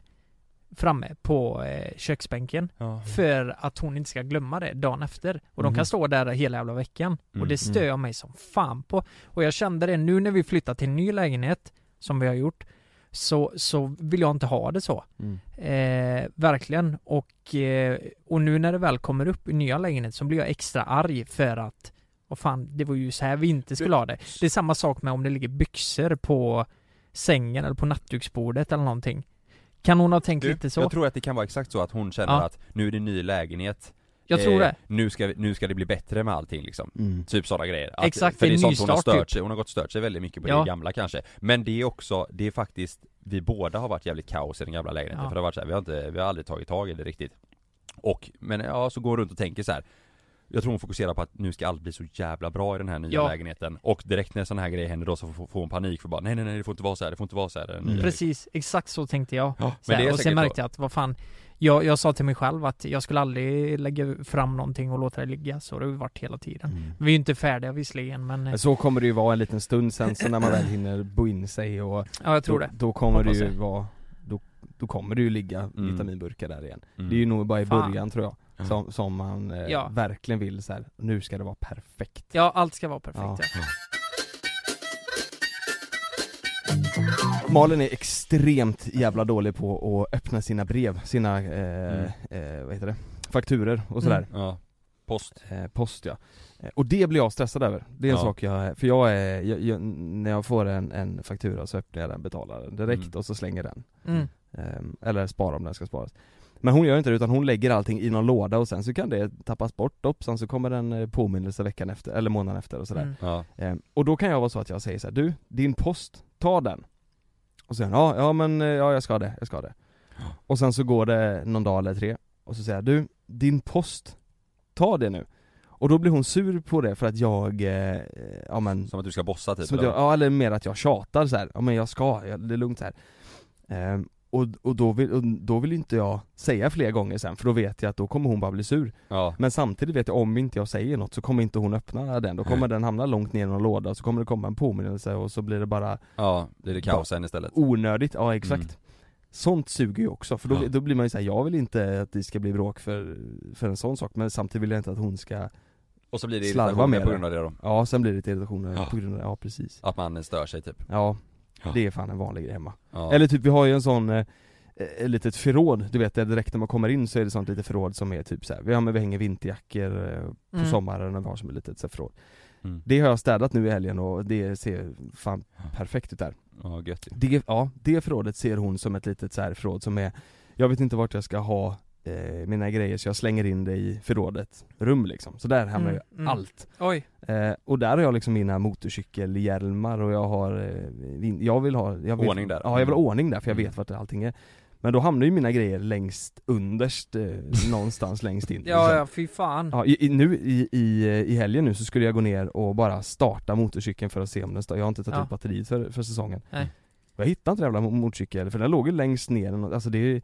framme på eh, köksbänken.
ja.
För att hon inte ska glömma det dagen efter. Och de
Mhm.
kan stå där hela jävla veckan.
Mm,
Och det stör jag mig som fan på. Och jag kände det nu när vi flyttat till en ny lägenhet, som vi har gjort, så, så vill jag inte ha det så.
Mm.
Eh, verkligen. Och, eh, och nu när det väl kommer upp i nya lägenhet så blir jag extra arg för att vad fan, det var ju så här vi inte skulle ha det. Det är samma sak med om det ligger byxor på sängen eller på nattduksbordet eller någonting. Kan hon ha tänkt
Du,
lite så?
Jag tror att det kan vara exakt så att hon känner
Ja.
att nu är det ny lägenhet
jag tror
eh,
det.
Nu ska, vi- nu ska det bli bättre med allting liksom
Mm.
Typ sådana grejer. Att,
Exakt,
för
det är
det är sånt hon har
nystart, typ.
stört sig, hon har gått och stört sig väldigt mycket på
Ja.
det gamla kanske. Men det är också, det är faktiskt, vi båda har varit jävligt kaos i den gamla lägenheten
Ja.
för det har varit så här, vi har inte, vi har aldrig tagit tag i det riktigt. Och, men ja, så går hon runt och tänker så här. Jag tror hon fokuserar på att nu ska allt bli så jävla bra i den här nya
Ja.
lägenheten Och direkt när sådana här grejer händer då så får, får hon panik för bara nej nej nej det får inte vara så här, det får inte vara så här den nya
Mm.
Precis, exakt så tänkte jag.
Ja,
Så
men det
här,
är
och sen
säkert
märkte
så.
jag att vad fan jag, jag sa till mig själv att jag skulle aldrig lägga fram någonting och låta det ligga, så har det har varit hela tiden.
Mm.
Vi är ju inte färdiga visserligen men eh,
Så kommer det ju vara en liten stund sen, så när man väl hinner bo in sig och
ja, jag tror det.
Då, då kommer det
Hoppas
ju
det.
vara, då, då kommer det ju ligga
Mm.
vitaminburkar där igen
Mm.
Det är ju nog bara i
Fan.
början tror jag
Ja.
som, som man eh,
Ja.
verkligen vill så här. nu ska det vara perfekt
Ja, allt ska vara perfekt. Ja.
Malin är extremt jävla dålig
Mm.
på att öppna sina brev, sina, eh, eh, vad heter det, fakturer och sådär
Mm.
Ja. Post.
Eh, post ja. Eh, Och det blir jag stressad över. Det är en
Ja.
sak jag, för jag är, jag, jag, när jag får en, en faktura så öppnar jag den, betalar den direkt
Mm.
och så slänger den.
Mm.
Ehm, Eller spara om den ska sparas. Men hon gör inte det utan hon lägger allting i någon låda och sen så kan det tappas bort, hoppsan så kommer den eh, påminnelse veckan efter, eller månaden efter och sådär.
Mm.
Ja.
Ehm, Och då kan jag vara så att jag säger så här: du, din post, ta den. Och sen ja, ja men eh, ja jag ska det, jag ska det. Och sen så går det någon dag eller tre och så säger jag, du, din post, ta det nu. Och då blir hon sur på det för att jag, eh, eh, ja men
Som att du ska bossa typ
som att
eller?
jag, ja eller mer att jag tjatar så här. ja men jag ska, jag, det är lugnt så här. Ehm, och, och, då vill, och då vill inte jag säga fler gånger sen för då vet jag att då kommer hon bara bli sur
ja.
Men samtidigt vet jag om inte jag säger något så kommer inte hon öppna den, då kommer den hamna långt ner i någon låda så kommer det komma en påminnelse och så blir det bara
ja, blir det kaos sen istället?
onödigt, ja exakt
Mm.
Sånt suger ju också, för då,
Ja.
då blir man ju såhär, jag vill inte att det ska bli bråk för, för en sån sak men samtidigt vill jag inte att hon ska,
Och så blir det
Slarva
irritationer
med
på
det.
grund av det då?
ja sen blir det lite irritationer
Ja.
på grund av det, ja precis
Att man stör sig typ?
Ja,
Ja.
det är fan en vanlig grej hemma
Ja.
Eller typ vi har ju en sån eh, ett litet förråd, du vet där direkt när man kommer in så är det sånt litet förråd som är typ så här, vi, har, men vi hänger vinterjackor eh, på
Mm.
sommaren och vi har som ett litet så här, förråd
Mm.
Det har jag städat nu i helgen och det ser fan perfekt ut där
Ja, gött ju.
det, ja, det förrådet ser hon som ett litet så här förråd som är Jag vet inte vart jag ska ha eh, mina grejer så jag slänger in det i förrådet rum liksom Så där hamnar
Mm,
ju
mm.
allt
Oj.
eh, Och där har jag liksom mina motorcykelhjälmar och jag har eh, vin- Jag vill ha jag vill,
Ordning där.
Ja jag vill ha ordning där för jag
Mm.
vet vart allting är Men då hamnar ju mina grejer längst underst eh, någonstans längst in
Ja,
liksom.
ja, fy fan.
Ja, i, i, nu i, i, i helgen nu så skulle jag gå ner och bara starta motorcykeln för att se om den står. Jag har inte tagit
Ja.
ut batteriet för, för säsongen.
Nej.
Och jag hittade inte den jävla mo- motorcykeln för den låg ju längst ner, än- alltså det är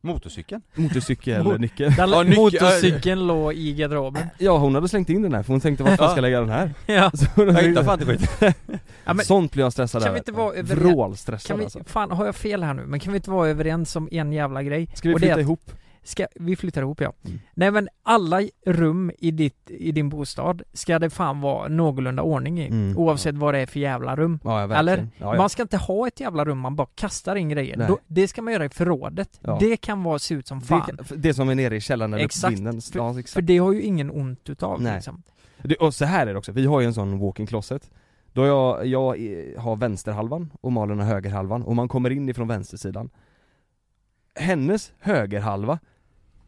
Motorcykeln?
motorcykelnyckeln.
Där
Ja,
ja,
nyc-
motorcykeln låg i garderoben.
Ja hon hade slängt in den här för hon tänkte vart fan ska jag lägga den här?
Ja.
Så hon
Jag
hade-
hittar fan inte skit.
Ja, men
Sånt blir jag stressad
kan vi
över.
inte vara överens-
Vrålstressad
Kan vi,
alltså.
fan har jag fel här nu? Men kan vi inte vara överens om en jävla grej?
Ska vi
Och det är
flytta
att-
ihop?
Ska, vi flyttar ihop ja.
Mm.
Nej men alla rum i, ditt, i din bostad ska det fan vara någorlunda ordning i.
Mm.
Oavsett vad det är för jävla rum.
Ja, ja
Eller?
verkligen. Ja, ja.
Man ska inte ha ett jävla rum man bara kastar in grejer.
Nej.
Då, det ska man göra i förrådet.
Ja.
Det kan vara, se ut som fan.
Det, kan- det som är nere i källaren eller på
Exakt.
vinden. Ja, exakt.
För det har ju ingen ont utav
Nej.
liksom.
Det, och så här är det också, vi har ju en sån walk-in closet Då jag, jag eh, har vänsterhalvan och Malin har högerhalvan och man kommer in ifrån vänstersidan Hennes högerhalva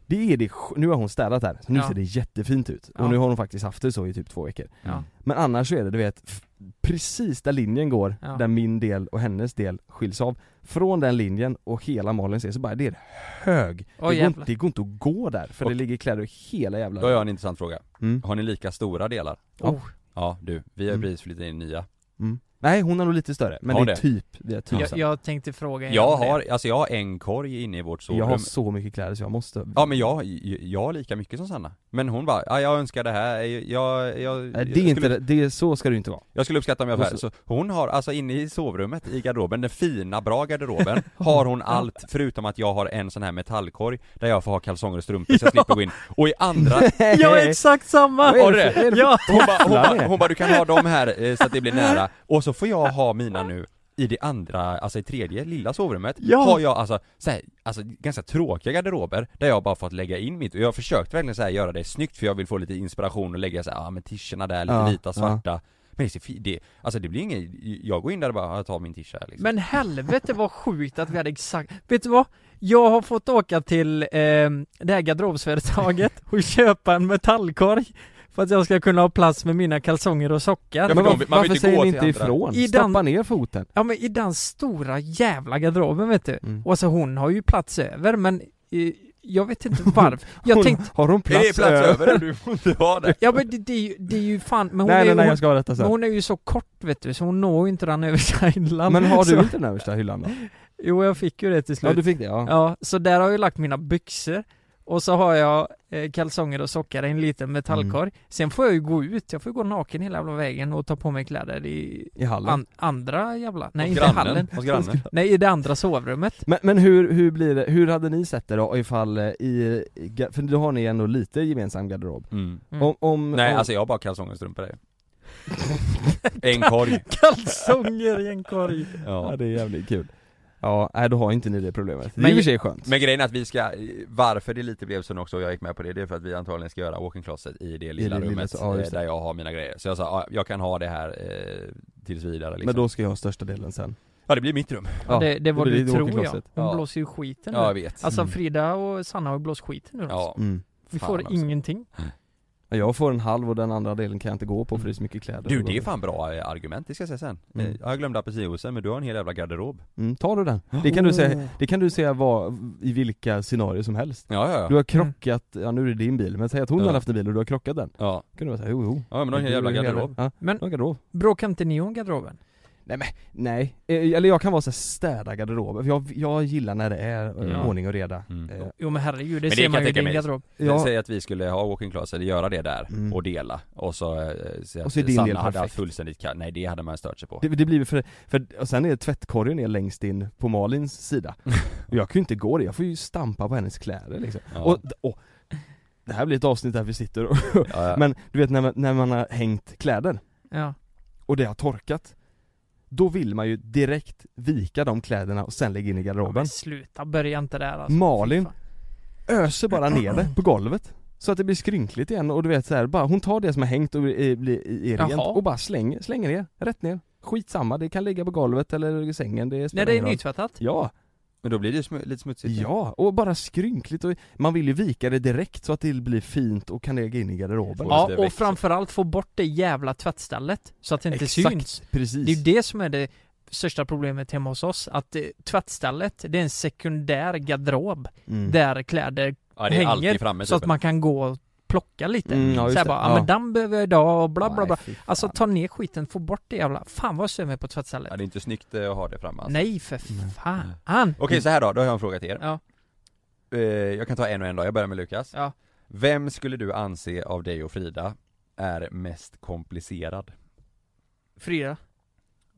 det är det, sj- nu har hon städat här, så nu
Ja.
ser det jättefint ut. Och
Ja.
nu har hon faktiskt haft det så i typ två veckor.
Ja.
Men annars så är det, du vet, f- precis där linjen går,
Ja.
där min del och hennes del skiljs av. Från den linjen och hela Malins del så bara, det är hög.
Oj,
det, går, inte-
jävlar.
det går inte att gå där, för det
Och-
ligger kläder i hela jävla...
Då har jag en intressant fråga.
Mm.
Har ni lika stora delar?
Ja.
Oh,
Ja, du. Vi har
Mm.
precis flyttat in i nya.
Mm. Nej hon har nog lite större, men
Har
det är
det?
typ, det är typ
jag,
så.
jag tänkte fråga er
Jag
om det.
har, alltså jag har en korg inne i vårt
Jag har
sovrum.
så mycket kläder så jag måste
Ja men jag, jag har lika mycket som Sanna. Men hon bara, "Ja, jag önskar det här, jag, jag, jag,
Nej,
jag
det är inte,
skulle,
det, det är, så ska det ju inte vara
jag skulle uppskatta om jag var här.
Och
Så hon har, alltså inne i sovrummet, i garderoben, den fina, bra garderoben, har hon allt förutom att jag har en sån här metallkorg där jag får ha kalsonger och strumpor så jag slipper gå in. Och i andra,
Jag är exakt samma!
Vad är
har du
det för-
det?
är det
Ja!
hon bara, hon,
Jävlar, det.
bara, hon bara, du kan ha dem här eh, så att det blir nära. Och så får jag ha mina nu i det andra, alltså i tredje, lilla sovrummet,
Ja.
har jag alltså, så här, alltså ganska tråkiga garderober där jag bara fått lägga in mitt, och jag har försökt verkligen så här göra det snyggt för jag vill få lite inspiration och lägga så här, ja men tischerna där, lite
Ja,
vita, svarta Men det, ser fi- det, alltså det blir inget, jag går in där och bara, jag tar min tischa liksom.
Men helvete vad sjukt att vi hade exakt, vet du vad? Jag har fått åka till eh, det här garderobsföretaget och köpa en metallkorg för att jag ska kunna ha plats med mina kalsonger och sockar.
Men
Ja, men
varför,
de- man vill
varför
inte
säger
gå
ni
till
inte
andra.
ifrån?
I
Stoppa
den-
ner foten
Ja men i den stora jävla garderoben vet du.
Mm.
Och så hon har ju plats över men eh, jag vet inte varför. Jag
Hon-
tänkte,
Har hon
Är
plats,
det plats över? Du får inte ha det!
ja men det, det, är ju, det är ju fan, men hon,
Nej
är, ju-
nej nej jag
hon,
ska ha detta
men
sen
hon är ju så kort vet du så hon når ju inte den översta hyllan.
Men har du
Så,
inte den översta hyllan då?
jo jag fick ju det till slut.
Ja du fick det ja,
Ja, så där har jag lagt mina byxor och så har jag eh, kalsonger och sockar i en liten metallkorg. Sen får jag ju gå ut, jag får ju gå naken hela jävla vägen och ta på mig kläder i
i hallen
an, andra jävla, nej
hos
inte hallen.
grannen, hos grannen.
Nej i det andra sovrummet.
men, men hur, hur blir det, hur hade ni sett det då ifall eh, i, i ga- för då har ni ändå lite gemensam garderob?
Mm.
Mm.
Om, om,
Nej
om,
alltså jag har bara kalsonger och strumpor där. En korg.
Kalsonger i en korg.
ja
Ja.
det är jävligt kul Ja, nej då har inte ni det problemet. Det är
Men-
i och för sig skönt.
Men grejen är att vi ska, varför det lite blev så nu också och jag gick med på det, det är för att vi antagligen ska göra walk-in-closet i det
det
lilla
lilla,
rummet
ja,
eh,
just det.
där jag har mina grejer. Så jag sa, ja, jag kan ha det här eh, tills vidare liksom.
Men då ska jag ha största delen sen.
Ja det blir mitt rum.
Ja, det, det var
blir
du
ditt
tror jag. Hon
walk-in-closet.
Ja.
blåser ju skiten
Ja jag
nu.
vet.
Alltså
Mm.
Frida och Sanna har ju blåst skiten nu alltså.
Ja.
Mm.
Vi
fan
får
alltså.
ingenting.
Ja, Jag får en halv och den andra delen kan jag inte gå på för det är så mycket kläder
Du det är fan bra eh, argument, det ska jag säga sen.
Mm.
Eh, Jag glömde apelsinjuicen men du har en hel jävla garderob.
mm, Tar du den? Det kan du
Oh.
säga, det kan du säga var, i vilka scenarier som helst
Ja ja
Du
ja.
har krockat, ja nu är det din bil, men säg att hon
Ja.
har haft en bil och du har krockat den
Ja,
Kan du bara säga jo jo
ja men du har en hel jävla
Du är hela-
garderob.
Ja,
Men-
men... du har en garderob
Bråkar inte ni om garderoben?
Nej, eh, eller jag kan vara såhär städa garderoben, för jag, jag gillar när det är eh,
Mm.
ordning och reda
Mm.
Eh,
Jo men herregud, det,
det
ser
kan
man ju i
jag tänka
din
mig.
garderob.
Ja,
Säg att vi skulle ha walking class eller göra det där
Mm.
och dela och så, eh, säg
Och så är din
att
del
Sanna hade
perfekt.
haft fullständigt kall, nej det hade man stört sig på.
det, det blir för, för, och sen är tvättkorgen är längst in på Malins sida Och jag kan ju inte gå det, jag får ju stampa på hennes kläder liksom
Ja.
och, och, Det här blir ett avsnitt där vi sitter och,
ja, ja.
men du vet när man, när man har hängt kläder
Ja.
och det har torkat Då vill man ju direkt vika de kläderna och sen lägga in i
ja
garderoben
men sluta, börja inte där alltså.
Malin.
Fy fan.
Öser bara ner det på golvet Så att det blir skrynkligt igen och du vet så här, bara hon tar det som har hängt och är, blir- är rent
Jaha.
och bara slänger, slänger ner, rätt ner Skitsamma, det kan ligga på golvet eller i sängen, det
Nej
spelar
det är
ingen roll.
nytvättat.
Ja,
Men då blir det ju smu- lite
typ.
smutsigt.
ja, och bara skrynkligt och man vill ju vika det direkt så att det blir fint och kan lägga in i garderoben
Ja,
Ja
det
och
växer.
framförallt få bort det jävla tvättstället. Så att det inte
Exakt.
syns.
Precis
Det är ju det som är det största problemet hemma hos oss. Att eh, tvättstället, det är en sekundär garderob.
Mm.
Där kläder
Ja det är
hänger
alltid framme
Så att man kan gå och plocka lite.
Mm, ja, just
så här
det.
bara, ja.
Ja.
men den behöver jag idag och bla bla bla.
Nej, fy fan.
Alltså ta ner skiten, få bort det jävla. Fan vad jag stör mig på tvättstället.
Ja, det är inte snyggt eh, att ha det framme alltså.
Nej för
Nej.
fan!
Okej så här då, då har jag en fråga till er.
Ja.
Eh, jag kan ta en och en då, jag börjar med Lukas.
Ja.
Vem skulle du anse av dig och Frida är mest komplicerad?
Frida,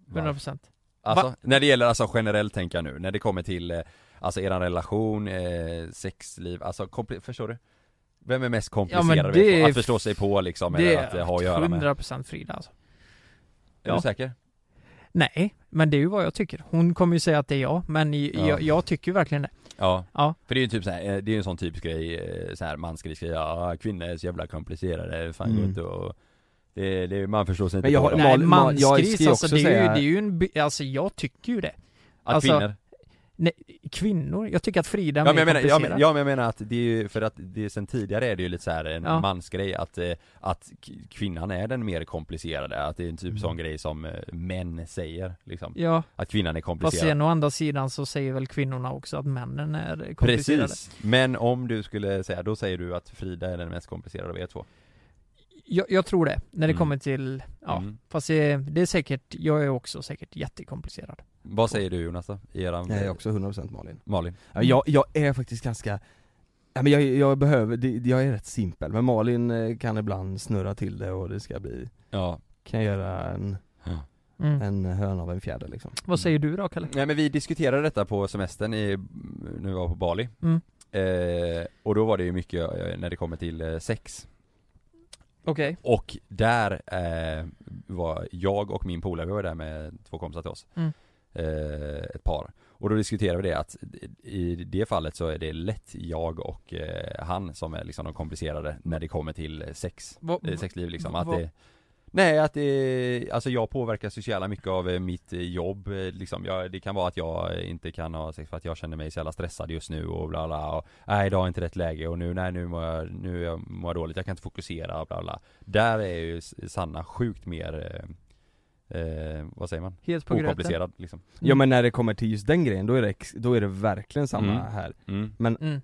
Va?
100%
Alltså,
Va?
när det gäller alltså generellt tänker jag nu, när det kommer till eh, alltså eran relation, eh, sexliv, alltså kompli- förstår du? Vem är mest komplicerad
men det
att
är-
förstå sig på liksom,
Det
eller att eh, ha att
är
göra med?
100% Frida alltså.
Är
Ja.
du säker?
Nej, men det är ju vad jag tycker. Hon kommer ju säga att det är jag, men i-
Ja.
jag, jag tycker ju verkligen det.
Ja.
Ja.
För det är ju typ så här, eh, det är ju en sån typisk grej, eh, så här man ska skriva, ja kvinnor är så jävla komplicerade, fan går
Mm.
inte och det, det, man förstår sig inte
Men jag
på
har-
dem.
Mal-
Nej,
Mal- jag ska
mansgris
ju
alltså,
också
det är, ju,
säga-
det är ju en... by- Alltså jag tycker ju det.
Att
alltså,
kvinnor
Kvinnor, jag tycker att Frida
Ja
är mer
men, jag menar, ja, men,
komplicerad.
ja men jag menar att det är ju, för att det, sen tidigare är det ju lite så här en
Ja.
mansgrej att, eh, att k- kvinnan är den mer komplicerade, att det är en typ
Mm.
sån grej som eh, män säger liksom
ja.
Att kvinnan är
Fast
komplicerad
sen å andra sidan så säger väl kvinnorna också att männen är komplicerade?
Precis, men om du skulle säga, då säger du att Frida är den mest komplicerade av er två
Jag, jag tror det, när det
Mm.
kommer till, ja,
Mm.
fast det, det är säkert, jag är också säkert jättekomplicerad.
Vad säger du Jonas då? I eran,
Jag är också 100% Malin
Mm.
Malin?
Ja, jag, jag är faktiskt ganska Ja, men jag, jag behöver, det, det- jag är rätt simpel men Malin eh, kan ibland snurra till det och det ska bli
Ja
Kan jag göra en,
Mm.
en höna av en fjäder liksom
Vad säger du då Kalle?
Nej men vi diskuterade detta på semestern i, när vi var på Bali
Mm.
eh, Och då var det ju mycket eh, när det kommer till eh, sex
Okej.
Och där eh, var jag och min polare, vi var där med två kompisar till oss
Mm.
eh, Ett par Och då diskuterade vi det att i det fallet så är det lätt jag och eh, han som är liksom de komplicerade när det kommer till sex,
Vad-
eh, sexliv liksom
vad-
att
vad-
det, Nej att det, alltså jag påverkas ju så jävla mycket av eh, mitt eh, jobb eh, liksom jag, Det kan vara att jag eh, inte kan ha sex för att jag känner mig så jävla stressad just nu och bla bla och, Nej idag är inte rätt läge och nu, nej nu mår jag, nu är jag- mår jag dåligt, jag kan inte fokusera och bla bla Där är ju S- Sanna sjukt mer eh, eh, vad säger man?
Helt på gröten.
Okomplicerad liksom
Mm.
Ja men när det kommer till just den grejen då är det, ex, då är det verkligen samma
Mm.
här
mm.
Mm.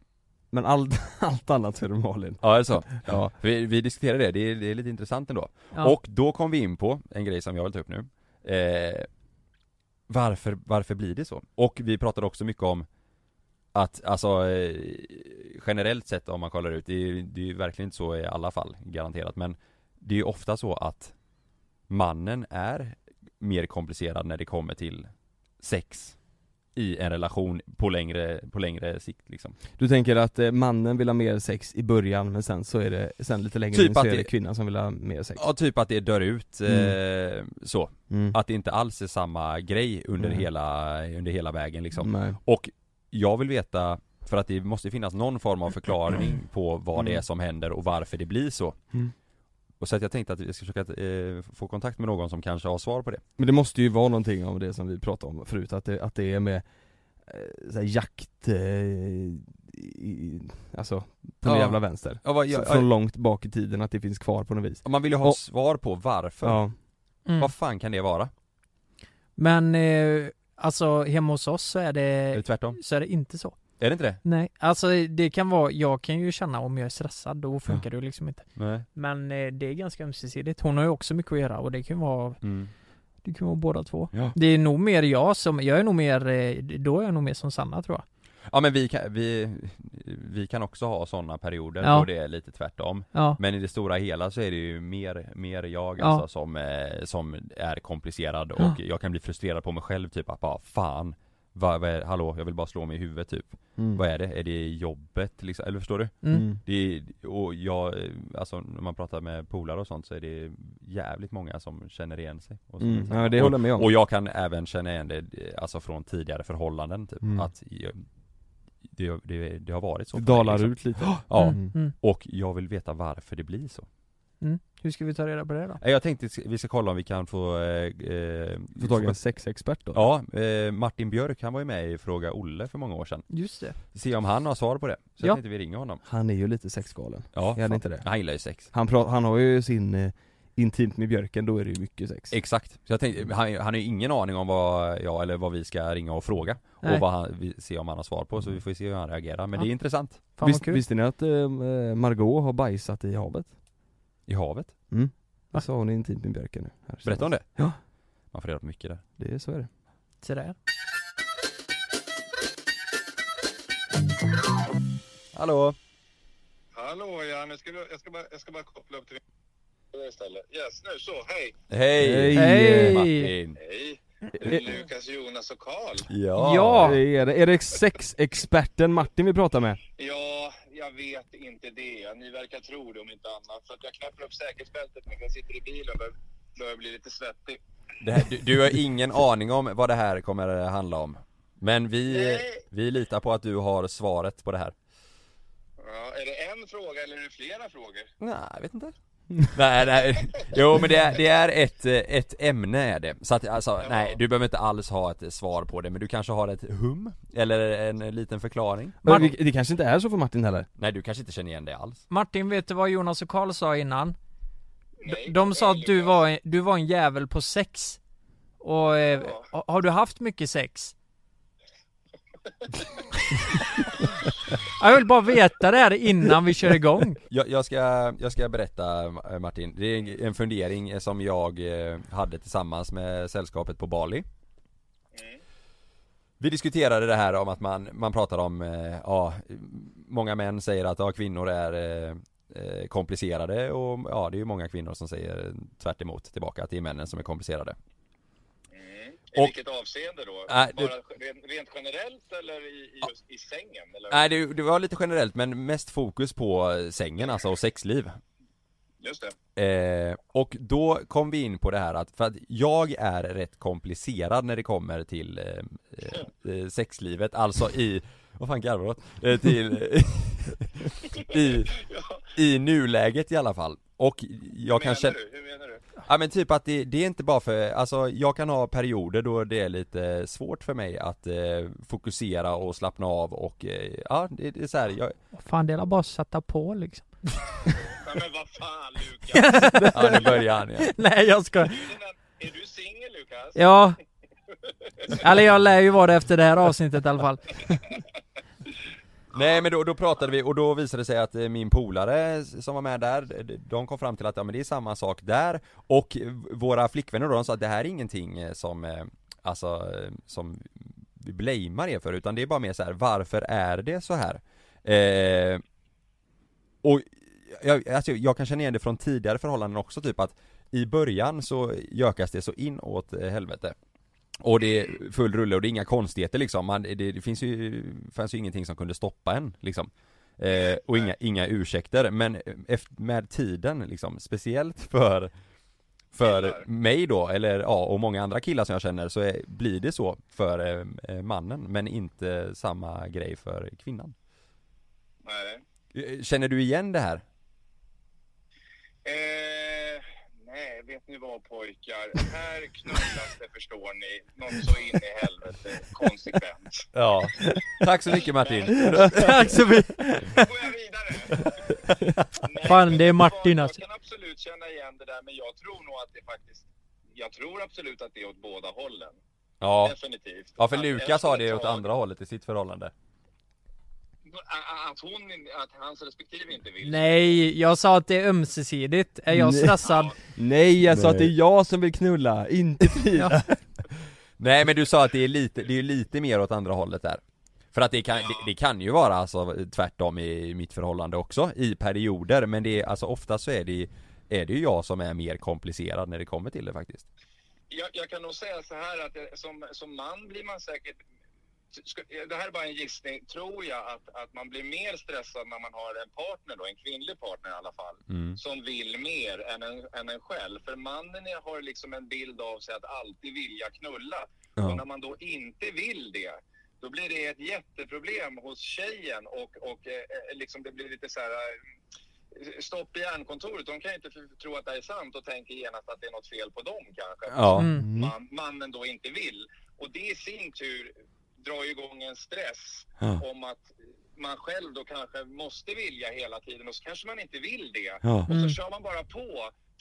Men allt, allt annat så är det Malin
Ja är det så?
Ja,
Vi, vi diskuterade det, det är, det är lite intressant ändå
Ja.
Och då kom vi in på en grej som jag vill ta upp nu eh, varför, varför blir det så? Och vi pratade också mycket om att, alltså eh, generellt sett om man kollar ut, det är, det är ju verkligen inte så i alla fall, garanterat men det är ju ofta så att mannen är mer komplicerad när det kommer till sex i en relation på längre, på längre sikt liksom.
Du tänker att eh, mannen vill ha mer sex i början men sen så är det, sen lite längre
Typ
in så
att
är det
det-
kvinnan som vill ha mer sex?
Ja, typ att det dör ut eh, så.
Mm.
Att det inte alls är samma grej under,
Mm.
hela, under hela vägen liksom.
Nej.
Och jag vill veta, för att det måste finnas någon form av förklaring på vad det är som händer och varför det blir så.
Mm.
Och så att jag tänkte att vi ska försöka eh, få kontakt med någon som kanske har svar på det.
Men det måste ju vara någonting av det som vi pratade om förut, att det, att det är med eh, så här, jakt, eh, i, alltså på den
Ja.
jävla vänster.
Ja, vad-
Så,
jag-
från långt bak i tiden, att det finns kvar på något vis.
man vill ju ha
Och-
svar på varför.
Ja.
Mm.
Vad fan kan det vara?
Men eh, alltså hemma hos oss så är
Eller
det,
tvärtom?
så är det inte så.
Är det inte det?
Nej, alltså det kan vara, jag kan ju känna om jag är stressad, då funkar det ju liksom inte.
Nej.
Men eh, det är ganska ömsesidigt. Hon har ju också mycket att göra och det kan ju vara,
Mm.
det kan vara båda två.
Ja.
Det är nog mer jag som, jag är nog mer, eh, då är jag nog mer som Sanna tror jag.
ja men vi kan, vi, vi kan också ha sådana perioder
Ja.
då det är lite tvärtom.
Ja.
Men i det stora hela så är det ju mer, mer jag
Ja.
alltså som, eh, som är komplicerad och
Ja.
jag kan bli frustrerad på mig själv typ att bara fan vad, vad är, hallå, jag vill bara slå mig i huvudet typ.
Mm.
Vad är det? Är det jobbet liksom? Eller förstår du?
Mm.
Mm.
Det är, och jag, eh, alltså när man pratar med polare och sånt så är det jävligt många som känner igen sig och, som
Mm.
samma.
Ja, det håller jag med om.
och, och jag kan även känna igen det eh, alltså från tidigare förhållanden typ,
Mm.
att jag, det, det, det har varit så för
Det
mig,
dalar
liksom.
ut lite.
Ja,
Mm. Mm.
och jag vill veta varför det blir så
Hur ska vi ta reda på det då?
Nej, Eh, Jag tänkte vi ska kolla om vi kan få eh, eh,
Få tag i en sexexpert då.
Ja, eh, Martin Björk han var ju med i Fråga Olle för många år sedan
Just det.
Se om han har svar på det, så
Ja.
jag tänkte vi ringer honom
Han är ju lite sexgalen,
Ja,
är han
fan.
inte det?
han gillar ju sex
Han, pra- han har ju sin eh, intimt med björken, då är det ju mycket sex.
Exakt, så jag tänkte, han, han har ju ingen aning om vad jag eller vad vi ska ringa och fråga
Nej.
Och vad han, vi ser om han har svar på,
Mm.
så vi får se hur han reagerar, men
Ja.
det är intressant
Fan vad
Visst,
kul.
visste ni att eh, Margot har bajsat i havet?
I havet,
Va?
Det sa hon i intimt med björken nu. Här
berätta om det
Ja.
Man får reda på mycket där
Det är så är det.
Se där.
Hallå!
Hallå ja, nu ska du, jag, ska bara, jag ska bara koppla upp till min istället. Yes, nu så, hej!
Hej.
Hej!
Hej.
Martin!
Hej!
Eh, eh.
Lukas, Jonas och Karl.
Ja!
Ja.
Det är, det. är det sexexperten Martin vi pratar med?
Ja, jag vet inte det. Ni verkar tro det om inte annat. Så att jag knäpper upp säkerhetsbältet medan jag sitter i bilen och bör- börjar bli lite svettig.
Det här, du, du har ingen aning om vad det här kommer att handla om Men vi,
Nej.
vi litar på att du har svaret på det här
Ja, är det en fråga eller är det flera frågor?
Nej, jag vet inte Nej, nej, jo men det är, det är ett, eh, ett ämne är det Så att alltså, nej du behöver inte alls ha ett eh, svar på det Men du kanske har ett hum? Eller en eh, liten förklaring?
Men
Martin.
Eh, det, det kanske inte är så för Martin heller?
Nej du kanske inte känner igen det alls?
Martin, vet du vad Jonas och Karl sa innan?
Nej,
De sa att du
Lukas.
var, en- du var en jävel på sex. Och eh,
Ja.
ha- har du haft mycket sex? Jag vill bara veta det här innan vi kör igång.
Jag, jag, ska, jag ska berätta eh, Martin, det är en fundering eh, som jag eh, hade tillsammans med sällskapet på Bali Mm. Vi diskuterade det här om att man, man pratar om, eh, ja, många män säger att ja, kvinnor är eh, eh, komplicerade och ja, det är ju många kvinnor som säger tvärt emot tillbaka att det är männen som är komplicerade.
Mm. I
Och-
vilket avseende då?
Äh,
Nej, det-
Bara rent, rent generellt eller i, i, just, i sängen? Eller?
Äh.
Nej, det, det var lite generellt men mest fokus på sängen alltså och sexliv.
Just det.
Eh, och då kom vi in på det här att, för att jag är rätt komplicerad när det kommer till eh, eh, sexlivet, alltså i, vad fan garvar du åt? Eh, till, i,
Ja,
i nuläget i alla fall. Och jag
menar
kan känna,
du? Hur menar du?
ja men typ att det, det är inte bara för, alltså jag kan ha perioder då det är lite svårt för mig att eh, fokusera och slappna av och, eh, ja det, det är så här, jag,
Fan, det är bara att sätta på liksom.
Nej, men vad fan Lukas!
ja nu börjar han igen.
Nej, jag ska.
Är du singel Lukas?
Ja. Eller jag lär ju vara det efter det här avsnittet i alla fall.
Nej men då, då pratade vi och då visade det sig att eh, min polare som var med där, de- de kom fram till att ja, men det är samma sak där och eh, våra flickvänner då, de sa att det här är ingenting eh, som, eh, alltså eh, som vi blamear er för utan det är bara mer så här, varför är det så här? Eh, och jag, alltså, jag kan känna igen det från tidigare förhållanden också typ att i början så gökas det så inåt eh, helvete Och det är full rulle och det är inga konstigheter liksom, man, det, det finns ju, fanns ju ingenting som kunde stoppa en liksom eh, Och inga, inga ursäkter, men efter, med tiden liksom, speciellt för för
Killar.
mig då, eller ja, och många andra killar som jag känner så är, blir det så för eh, eh, mannen men inte samma grej för kvinnan
Nej.
Eh, Känner du igen det här?
Eh, nej, vet ni vad pojkar? Här knullas det förstår ni. Någon så in i helvete konsekvent.
Ja Tack så mycket Martin!
Tack så mycket!
Går jag vidare? Nej,
Fan,
men
det är
vet du vad?
Martin alltså.
Jag kan absolut känna igen det där men jag tror nog att det faktiskt jag tror absolut att det är åt båda hållen.
Ja,
Definitivt.
ja för
Att
Lukas
efter
har
ett
det åt
tag-
andra hållet i sitt förhållande
Att- Att hon, att hans respektive inte vill.
Nej, jag sa att det är ömsesidigt. Är jag
Nej.
stressad?
Nej jag sa
Nej.
att det är jag som vill knulla, inte Frida!
Nej men du sa att det är lite, det är lite mer åt andra hållet där För att det kan, det, det kan ju vara alltså tvärtom i mitt förhållande också, i perioder men det är, alltså ofta så är det är det ju jag som är mer komplicerad när det kommer till det faktiskt
jag, jag kan nog säga så här att det, som, som man blir man säkert... ska- Det här är bara en gissning, tror jag, att, att man blir mer stressad när man har en partner då, en kvinnlig partner i alla fall,
Mm.
som vill mer än en, än en själv. För mannen är- har liksom en bild av sig att alltid vilja knulla.
Ja.
Och när man då inte vill det, då blir det ett jätteproblem hos tjejen och, och eh, eh, liksom det blir lite så här eh, stopp i hjärnkontoret. De kan ju inte f- tro att det här är sant och tänker genast att det är något fel på dem kanske
Ja,
Mm.
man, mannen då inte vill. Och det i sin tur drar ju igång en stress
Ja.
om att man själv då kanske måste vilja hela tiden och så kanske man inte vill det.
Ja.
Och så
Mm.
kör man bara på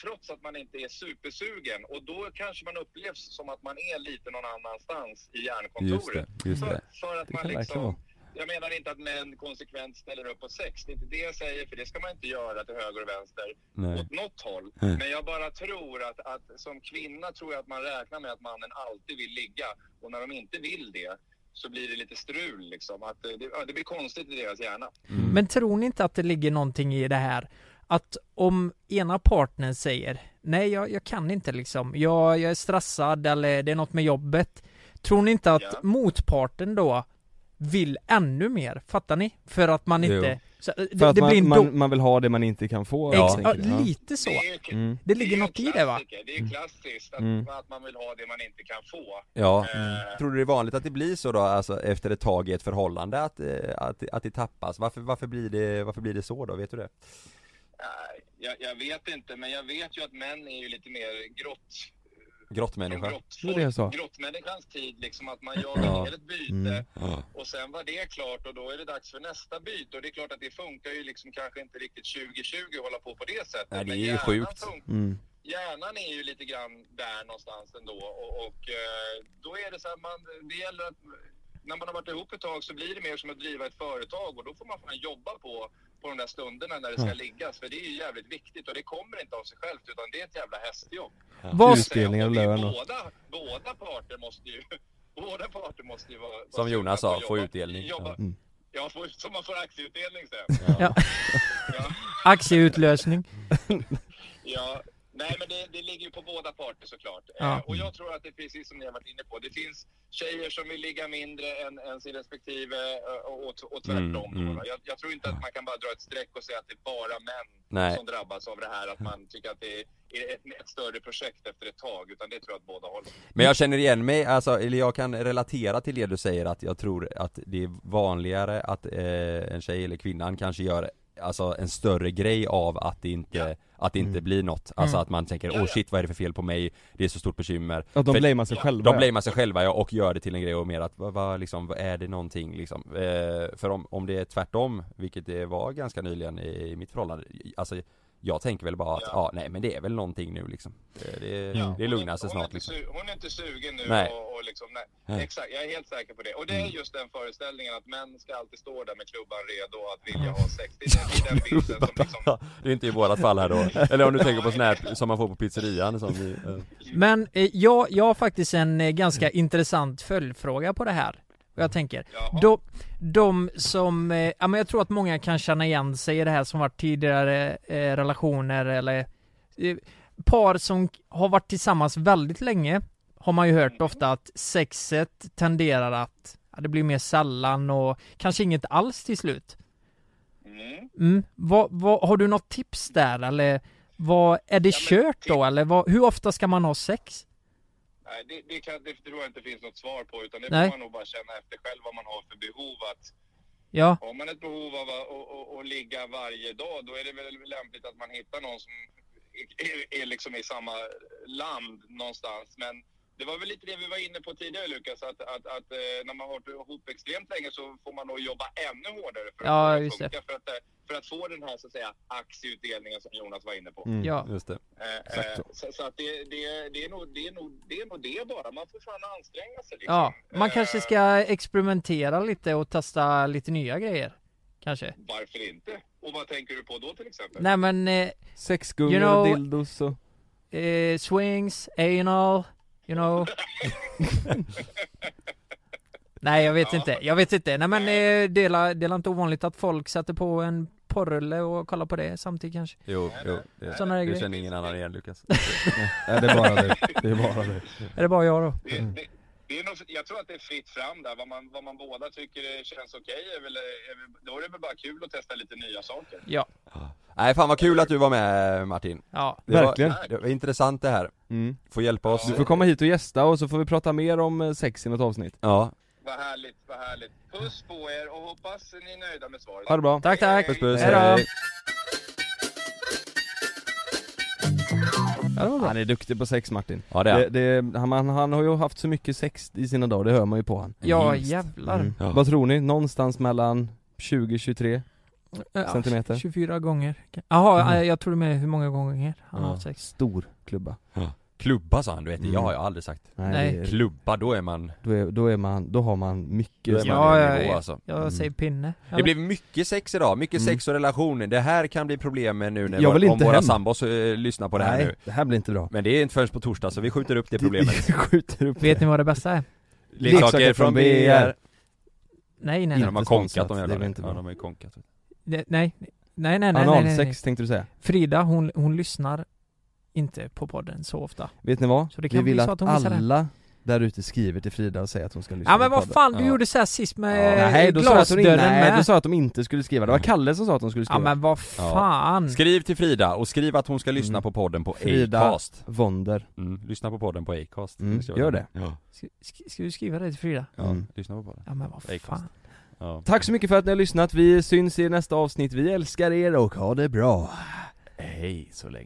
trots att man inte är supersugen och då kanske man upplevs som att man är lite någon annanstans i
just det,
hjärnkontoret.
just
För,
det
för att
Det
man
kan verkligen vara.
liksom, jag menar inte att män konsekvent ställer upp på sex, det är inte det jag säger för det ska man inte göra till höger och vänster
Nej.
åt något håll.
Nej.
Men jag bara tror att, att som kvinna tror jag att man räknar med att mannen alltid vill ligga. Och när de inte vill det så blir det lite strul liksom. Att eh, det, ja, det blir konstigt i deras hjärna.
Mm.
Men tror ni inte att det ligger någonting i det här? Att om ena partnern säger Nej, jag, jag kan inte liksom. Jag, jag är stressad eller det är något med jobbet. Tror ni inte att
Ja.
motparten då vill ännu mer? Fattar ni? För att man
Jo.
inte... Så, eh, det
För att
det blir
man,
en
man,
do-
man vill ha det man inte kan få
Ex-
tänker
ja,
du? Ja.
lite så.
Det, är ju,
Mm.
Det
det är ju
ligger
en
något i det va?
klassiker. Det är ju klassiskt att,
Mm.
att man vill ha det man inte kan få.
Ja,
Eh,
tror du det är vanligt att det blir så då, alltså efter ett tag i ett förhållande att, eh, att, att det tappas? Varför, varför, blir det, varför blir det så då, vet du det?
nej, jag, jag vet inte, men jag vet ju att män är ju lite mer grått från
Grottmänniska?
grottfolk-
Det är så.
grottmänniskans tid, liksom att man jagar
Ja.
ner ett byte
Mm.
och sen var det klart och då är det dags för nästa byte och det är klart att det funkar ju liksom kanske inte riktigt 2020 att hålla på på det sättet.
Nej, det
Men
är ju
hjärnan
sjukt.
fun-
Mm.
Hjärnan är ju lite grann där någonstans ändå och, och eh, då är det så här, man, det gäller att när man har varit ihop ett tag så blir det mer som att driva ett företag och då får man fan jobba på, på de där stunderna när det ska liggas för det är ju jävligt viktigt och det kommer inte av sig självt utan det är ett jävla hästjobb.
Vad-
Utdelningar och
Det är ju
lön och...
Båda, båda parter måste ju, båda parter måste ju vara... vara
Som Jonas
sugna på
sa,
att
få
jobba-
utdelning.
Jobba,
Ja.
Mm.
Ja, får, så man får aktieutdelning sen.
Ja.
Ja,
Aktieutlösning.
ja. Nej, men det, det ligger ju på båda parter såklart.
Ja.
Eh, och jag tror att det är precis som ni har varit inne på. Det finns tjejer som vill ligga mindre än, än sin respektive eh, och, och, och tvärtom.
Mm, mm.
då, va? Jag, jag tror inte att man kan bara dra ett streck och säga att det är bara män
Nej.
som drabbas av det här. Att man tycker att det är ett, ett större projekt efter ett tag. Utan det tror jag att båda håller.
Men jag känner igen mig, alltså, eller jag kan relatera till det du säger att jag tror att det är vanligare att eh, en tjej eller kvinnan kanske gör Alltså en större grej av att det inte, att det inte blir något Alltså
Mm.
att man tänker
Ja,
åh
ja.
shit vad är det för fel på mig? Det är så stort bekymmer
Att de
För-
blamear sig själva
De blamear sig själva ja, och gör det till en grej och mer att vad, vad liksom, vad är det någonting liksom? Eh, för om, om det är tvärtom, vilket det var ganska nyligen i, i mitt förhållande Alltså jag tänker väl bara att ja,
Ja.
nej men det är väl någonting nu liksom Eh, Det,
Ja,
det
hon
lugnar
är-
sig
hon är
snart
inte
liksom
su- Hon är inte sugen nu
Nej.
och, och liksom, nej.
Nej. Mm.
Exakt, jag är helt säker på det. Och det är just den föreställningen att män ska alltid stå där med klubban redo att vilja ha sex. Det är den, det är den bilden som liksom...
Det är inte i vårat fall här då, eller om du tänker på sån här som man får på pizzerian som vi, eh.
liksom-
Men eh, jag, jag har faktiskt en eh, ganska
Mm.
intressant följdfråga på det här. Och jag tänker,
Jaha.
de, de som, eh, ja men jag tror att många kan känna igen sig i det här som varit tidigare eh, relationer eller eh, par som k- har varit tillsammans väldigt länge har man ju
Mm.
hört ofta att sexet tenderar att, ja, det blir mer sällan och kanske inget alls till slut.
Mm.
Mm. Vad, vad, har du något tips där eller vad, är det
Ja, men-
kört då eller vad, hur ofta ska man ha sex?
Nej, det, det, kan, det tror jag inte finns något svar på utan det
Nej.
får man nog bara känna efter själv vad man har för behov att
Ja,
Har man ett behov av att, att, att, att ligga varje dag, då är det väl lämpligt att man hittar någon som är, är liksom i samma land någonstans. Men det var väl lite det vi var inne på tidigare Lukas, att, att, att eh, när man har varit ihop extremt länge så får man nog jobba ännu hårdare för att
Ja,
få det att
just det.
funka, För att, eh, för att få den här så att säga aktieutdelningen som Jonas var inne på.
Mm,
Ja.
Just det.
Eh,
exakt
eh, så så att det, det, det, är nog, det, är nog, det är nog det bara, man får fan anstränga sig liksom.
ja. Man
Eh,
kanske ska experimentera lite och testa lite nya grejer. Kanske.
Varför inte? Och vad tänker du på då till exempel?
Nej men, eh,
Sexgungor,
You know-
dildos och...
eh, swings, anal, you know. Nej jag vet
Ja.
inte, jag vet inte. Nej men eh, det är la- det är la inte ovanligt att folk sätter på en porrrulle och kollar på det samtidigt kanske.
Jo, jo.
Såna
Det,
här
det
grejer.
känner ingen annan igen Lukas.
Nej det är bara det, det är bara det
Är det bara jag då?
Det, det, det är nog, jag tror att det är fritt fram där. Vad man, vad man båda tycker känns okej, är väl, är, väl- då är det väl bara kul att testa lite nya saker.
Ja.
Nej fan vad kul att du var med Martin.
Ja.
Det var-
Verkligen.
Det var intressant det här.
mm.
Får hjälpa oss.
Du får komma hit och gästa och så får vi prata mer om eh, sex i något avsnitt
Ja,
Vad härligt, vad härligt. Puss på er och hoppas ni är nöjda med svaret.
Ha det bra
Tack tack!
Puss,
puss.
Hej då.
Hej.
Ja, det var bra.
Han är duktig på sex Martin
Ja det är
det,
han.
det, han, han, han har ju haft så mycket sex i sina dagar, det hör man ju på han
Ja
Minst.
jävlar.
Mm.
Ja.
Vad tror ni? Någonstans mellan 20-23
Ja,
Centimeter.
24 gånger. Jaha,
Mm.
eh, jag tror med hur många gånger han har
Ja.
haft sex.
Stor klubba
Klubba sa han, du vet det.
Mm.
Ja, jag har aldrig sagt.
Nej.
det är-
Klubba, då är man,
då, är, då är man, då har man
då
mycket
är
Ja,
man
ja,
ja, nivå
ja.
alltså.
Jag
Mm.
säger pinne.
Det blev mycket sex idag, mycket
Mm.
sex och relationer. Det här kan bli problem med nu när
Jag vill
vår- om
inte
våra
hem.
sambos eh, lyssnar på det här
Nej,
nu.
det här blir inte bra
Men det är inte förrän på torsdag så vi skjuter upp det problemet.
skjuter upp
Vet ni vad det bästa är?
Leksaker från BR.
Nej, nej,
Nej,
nej.
de har
sponsrat,
konkat de
det är
jävlarna.
väl inte
Ja,
bra.
de har ju konkat.
Nej, nej, nej, nej, nej, nej, nej, nej.
Analsex tänkte du säga
Frida, hon, hon lyssnar inte på podden så ofta.
Vet ni vad?
Så det
Vi
kan bli
vill
så att
att
hon missar det.
alla där ute skriver till Frida och säger att hon ska lyssna
Ja men
på
vad
podden.
fan, du
Ja.
gjorde såhär sist med
Ja, nej, då sa jag att de,
glasdörren
Eh, nej, då
med.
sa jag att de inte skulle skriva. Det var Kalle som sa att de skulle
Ja
skriva.
men vad fan.
Skriv till Frida och skriv att hon ska lyssna
Mm.
på podden på
Frida.
Acast.
Vonder.
Mm. Lyssna på podden på Acast.
Mm,
ska jag
gör
göra.
det.
Ja.
Sk- sk- Ska du skriva det till Frida?
ja.
Mm.
Lyssna på podden.
Ja men vad
Acast.
fan.
Ja.
Tack så mycket för att ni har lyssnat. Vi syns i nästa avsnitt. Vi älskar er och ha det bra.
Hej så länge.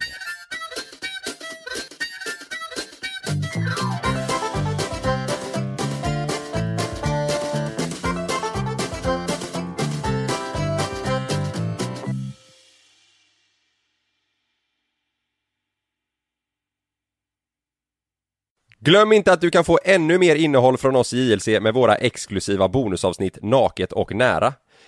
Glöm inte att du kan få ännu mer innehåll från oss i JLC med våra exklusiva bonusavsnitt Naket och nära.